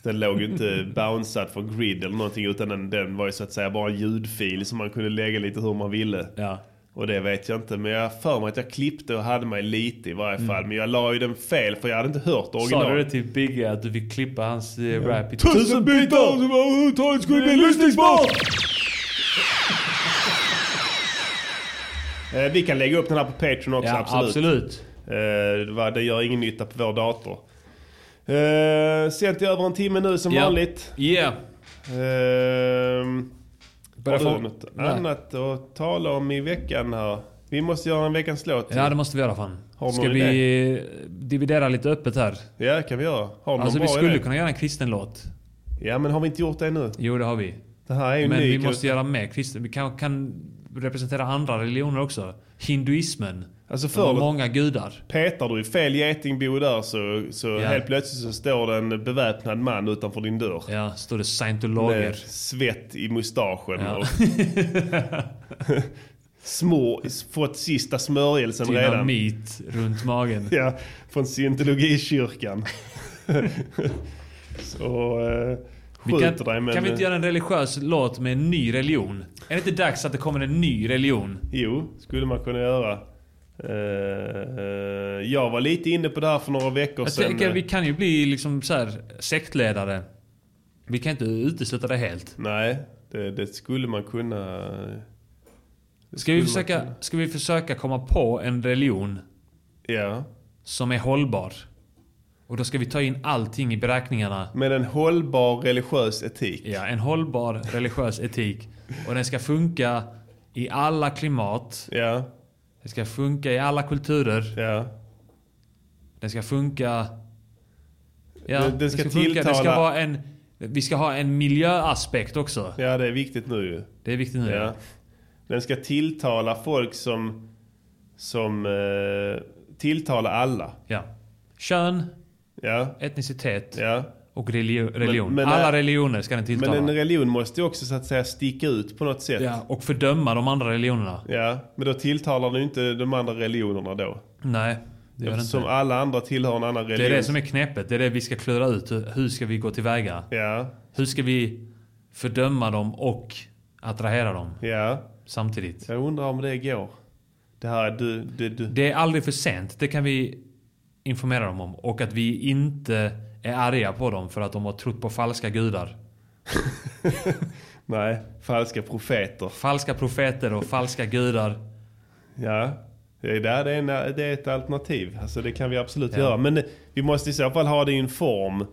Den låg ju inte bouncead från grid eller någonting, utan den, den var ju så att säga bara en ljudfil som man kunde lägga lite hur man ville. Ja. Och det vet jag inte, men jag har för mig att jag klippte och hade mig lite i varje fall. Men jag la ju den fel, för jag hade inte hört original. Mm. Sa du det till Biggie att du fick klippa hans eh, rap i Tusen bitar som överhuvudtaget skulle bli lyssningsbart! Eh, Vi kan lägga upp den här på Patreon också, Ja, absolut. absolut. Eh, det var- Det gör ingen nytta på vår dator. Eh, Sänt i över en timme nu som Ja. vanligt. Yeah. Ehm, Börjar har få- du något Nej. annat att tala om i veckan här? Vi måste göra en veckans låt. Ja, det måste vi göra fan. Har du Ska någon vi idé? eh, dividera lite öppet här? Ja, det kan vi göra. Har du Alltså någon vi bra skulle idé? kunna göra en kristen låt. Ja, men har vi inte gjort det nu? Jo, det har vi. Det här är ju Men ny vi kul- måste göra mer kristen. Vi kan, kan representera andra religioner också. Hinduismen. Alltså De har förr- många gudar. Petar du i fel getingbo där så, så helt plötsligt så står det en beväpnad man utanför din dörr. Ja, står det scientologer. Med svett i mustaschen. Ja. Och små, fått sista smörjelsen redan. Dynamit runt magen. ja, från scientologikyrkan. så eh, Vi skjuter kan, dig men... eh, kan vi inte göra en religiös låt med en ny religion? Är det inte dags att det kommer en ny religion? eh, Jo, skulle man kunna göra. Eh, eh, jag var lite inne på det här för några veckor Jag sedan. tänker, eh, vi kan ju bli liksom så här sektledare. Vi kan inte utesluta det helt. Nej, det, det skulle man kunna... det Ska vi, skulle försöka, man kunna. ska vi försöka komma på en religion som är hållbar? Och då ska vi ta in allting i beräkningarna. Med en hållbar religiös etik. Ja, en hållbar religiös etik. Och den ska funka i alla klimat. Ja. Den ska funka i alla kulturer. Ja. Den ska funka... Ja, Den- den ska Den ska tilltala- vara en... Vi ska ha en miljöaspekt också. Ja, det är viktigt nu ju. Det är viktigt nu, ja. Den ska tilltala folk som... Som... Eh, tilltala alla. Ja. Kön, ja. etnicitet ja. och religi- religion. alla religioner ska den tilltala. Men en religion måste ju också så att säga sticka ut på något sätt. Ja, och fördöma de andra religionerna. Ja, men då tilltalar du inte de andra religionerna då. Nej, det gör det Eftersom inte. alla andra tillhör en annan Det religion. är det som är knepet. Det är det vi ska klura ut. Hur- Hur ska vi gå tillväga? Ja. Hur ska vi fördöma dem och attrahera dem? Ja. Samtidigt. Jag undrar om det går. Det här är du, det, du. Det är aldrig för sent. Det kan vi informera dem om. Och att vi inte är arga på dem för att de har trott på falska gudar. Nej, falska profeter. Falska profeter och falska gudar. Ja, det är, där det, är en, det är ett alternativ. Alltså det kan vi absolut Ja. Mm. göra. Men vi måste i så fall ha det i en form.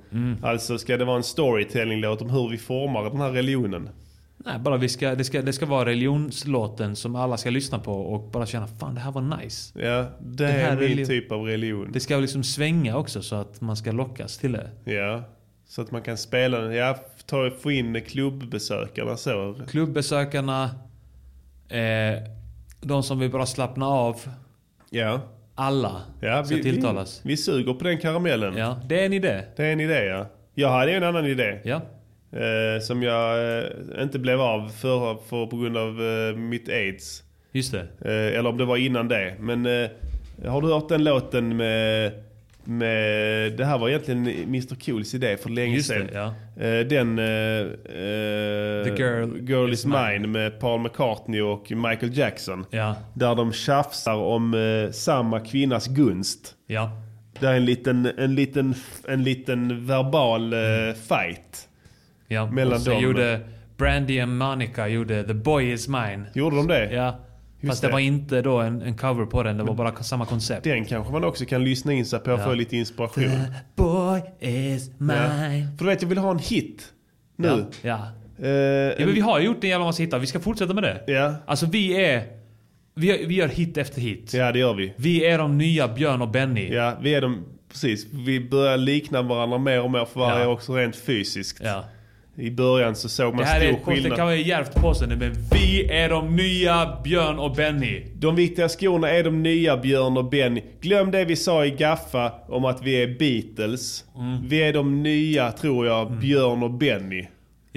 Alltså ska det vara en storytelling-låt om hur vi formar den här religionen? Nej, bara vi ska, det, ska, det ska vara religionslåten som alla ska lyssna på och bara känna fan det här var nice. Ja, det, Den är här min religion- typ av religion. Det ska liksom svänga också så att man ska lockas till det. Ja, så att man kan spela den. Ja, ta, få in klubbbesökarna så. Klubbbesökarna, eh, de som vill bara slappna av. Ja. Alla Ja, ska tilltalas. Vi, vi suger på den karamellen. Ja, det är en idé. Det är en idé ja. Jag hade ju en annan idé. Ja. Eh, som jag eh, inte blev av för, för på grund av eh, mitt aids. Just det. Eh, eller om det var innan det. Men eh, har du hört den låten med... med det här var egentligen Mr Cools idé för länge Just det, sedan. ja. Eh, den... Eh, eh, The Girl is is mine. Mine. med Paul McCartney och Michael Jackson. Ja. Där de tjafsar om eh, samma kvinnas gunst. Ja. Det är en liten, en liten, en liten verbal eh, fight. Ja, Mellan och så dem. gjorde Brandy and Monica gjorde The Boy Is Mine. Gjorde de det? Ja. Just Fast det. det. var inte då en, en cover på den, det var bara samma koncept. Den kanske man också kan lyssna in sig på och Ja. få lite inspiration. Boy is mine. För du vet, jag vill ha en hit. Nu. Eh, Ja. ja. ja men vi har gjort en jävla massa hittar, vi ska fortsätta med det. Ja. Alltså vi är... Vi, gör- vi gör hit efter hit. Ja, det gör vi. Vi är de nya Björn och Benny. Ja, vi är de... Precis. Vi börjar likna varandra mer och mer för varje Ja. år också rent fysiskt. Ja. I början så såg Det man här är stor ett post, det skillnad. kan vara djärvt påstående, men vi är de nya Björn och Benny. De viktiga skorna är de nya Björn och Benny. Glöm det vi sa i Gaffa om att vi är Beatles. Mm. Vi är de nya, tror jag, Björn och Benny.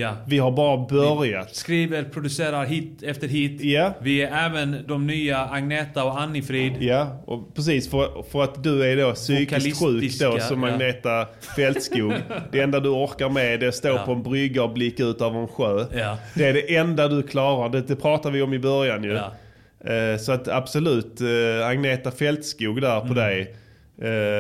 Ja. Vi har bara börjat. Skriver, producerar hit efter hit. Ja. Vi är även de nya Agneta och Annifrid. Ja, och precis. För, för att du är då psykiskt sjuk då, Vokalistiska, som ja. Agneta Fältskog. Det enda du orkar med det är att stå Ja. på en brygga och blicka ut över en sjö. Ja. Det är det enda du klarar. Det, det pratar vi om i början ju. Eh, Så att absolut, eh, Agneta Fältskog där på Mm. dig.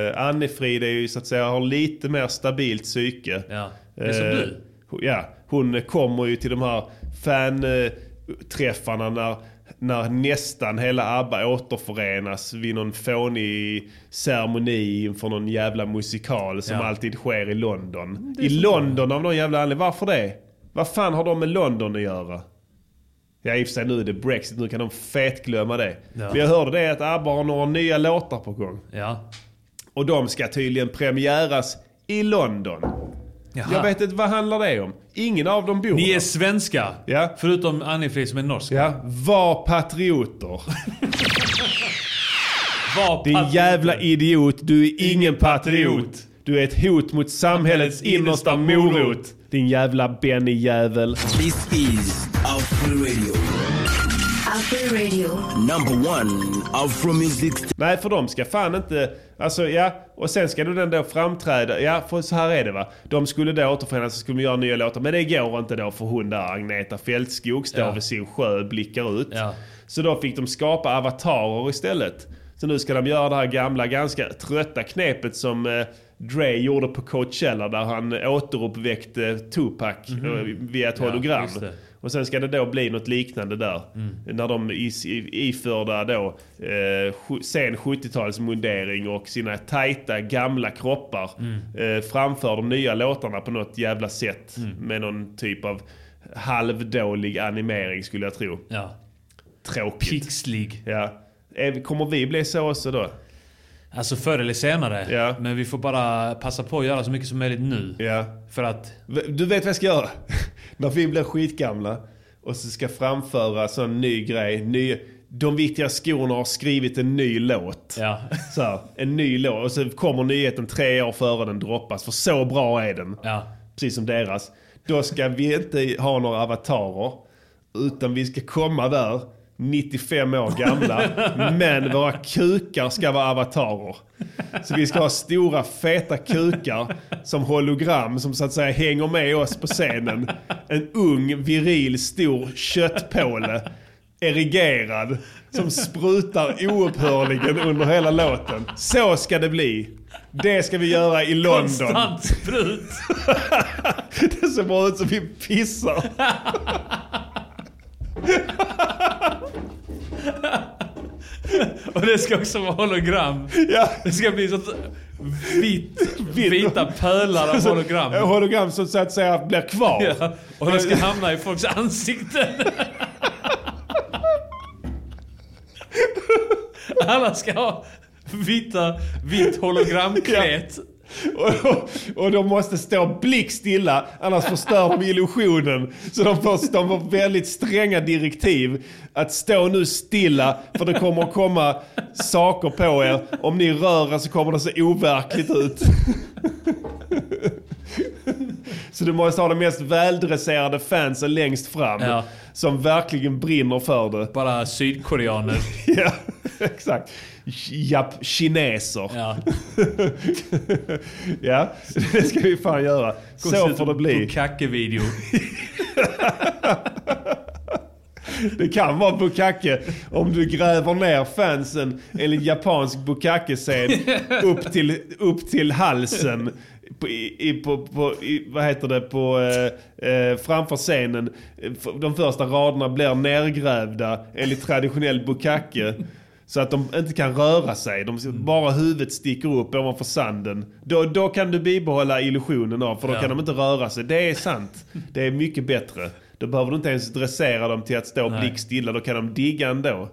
Eh, Annefrid är ju så att säga, har lite mer stabilt psyke. Ja, det är som Eh, du. ho- Ja, hon kommer ju till de här fan-träffarna när, när nästan hela ABBA återförenas vid någon fånig ceremoni inför någon jävla musikal som Ja. alltid sker i London. Mm, Det är I så London av någon jävla anledning. Varför det? Vad fan har de med London att göra? Ja i och för sig nu är det Brexit, nu kan de fetglömma det. Ja. Men jag hörde det att ABBA har några nya låtar på gång. Ja. Och de ska tydligen premiäras i London. Jaha. Jag vet inte, vad handlar det om? Ingen av dem bor Ni där. är svenska. Ja. Förutom Annie Frid som är norsk. Ja, var patrioter. Var Din pat- jävla idiot, du är ingen patriot. Du är ett hot mot samhällets innersta morot. Din jävla Benny-jävel. This is Afro Radio. Afro Radio. Number one Afro music. Nej, för de ska fan inte... Alltså ja, och sen ska du den då framträda. Ja, för så här är det va. De skulle då återförenas och skulle göra nya låtar. Men det går inte då för hon där, Agneta Fältskog, står Ja. vid sin sjö och blickar ut. Ja. Så då fick de skapa avatarer istället. Så nu ska de göra det här gamla, ganska trötta knepet som eh, Dre gjorde på Coachella där han återuppväckte Tupac Mhm. eh, via ett Ja, hologram. just det. Och sen ska det då bli något liknande där. Mm. När de is- i- iförda då eh, sju- sen 70-talsmundering och sina tajta gamla kroppar eh, framför de nya låtarna på något jävla sätt. Mm. Med någon typ av halvdålig animering skulle jag tro. Ja. Tråkigt. Pixlig. Ja. Eh, Kommer vi bli så också då? Alltså förr eller senare. Men vi får bara passa på att göra så mycket som möjligt nu. För att... Du vet vad jag ska göra? När vi blir skitgamla och så ska framföra sån ny grej. Ny, de viktiga skorna har skrivit en ny låt. Så här, en ny låt. Och så kommer nyheten tre år före den droppas. För så bra är den. Precis som deras. Då ska vi inte ha några avatarer. Utan vi ska komma där 95 år gamla. men våra kukar ska vara avatarer. Så vi ska ha stora feta kukar som hologram som så att säga hänger med oss på scenen. En ung, viril, stor köttpåle. Erigerad. Som sprutar oupphörligen under hela låten. Så ska det bli. Det ska vi göra i London. Konstant sprut. Det ser bara ut som vi pissar. Och det ska också vara hologram. Ja. Det ska bli sånt vit, vita pölar av hologram. Hologram som så att säga blir kvar. Ja. Och det ska hamna i folks ansikten. Alla ska ha vita, vitt hologramklet. Och, och de måste stå blickstilla, annars förstör de illusionen. Så de får, de får väldigt stränga direktiv att stå nu stilla, för det kommer att komma saker på er. Om ni rör er så kommer det se overkligt ut. Så du måste ha de mest väldresserade fansen längst fram. Ja. Som verkligen brinner för det. Bara sydkoreaner. ja, exakt. Jap, kineser. Ja. ja, det ska vi fan göra. Gå och se Så ut får det bli. Bukake-video. Det kan vara bukake om du gräver ner fansen enligt japansk bukake-scen upp till, upp till halsen. På, i, i- på, på, i, vad heter det? På, eh, eh, framför scenen. Eh, f- De första raderna blir nergrävda enligt traditionell bukake. Så att de inte kan röra sig. De, Mm. bara huvudet sticker upp ovanför sanden. Då, då kan du bibehålla illusionen av, för då Ja. kan de inte röra sig. Det är sant. Det är mycket bättre. Då behöver du inte ens dressera dem till att stå Nej. blickstilla. Då kan de digga ändå.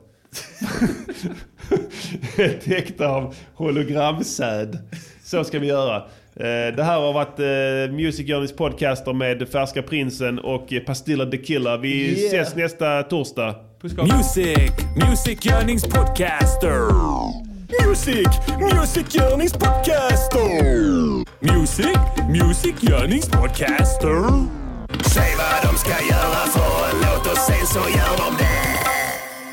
Täckta av hologramsäd. Så ska vi göra. Eh, Det här har varit eh, Music Journeys podcaster med Färska Prinsen och eh, Pastilla the Killer. Vi Yeah. ses nästa torsdag. Music, Music Yearnings Podcaster. Music, Music Yearnings Podcaster. Music, Music Yearnings Podcaster. Säg vad de ska göra för en låt och sen så gör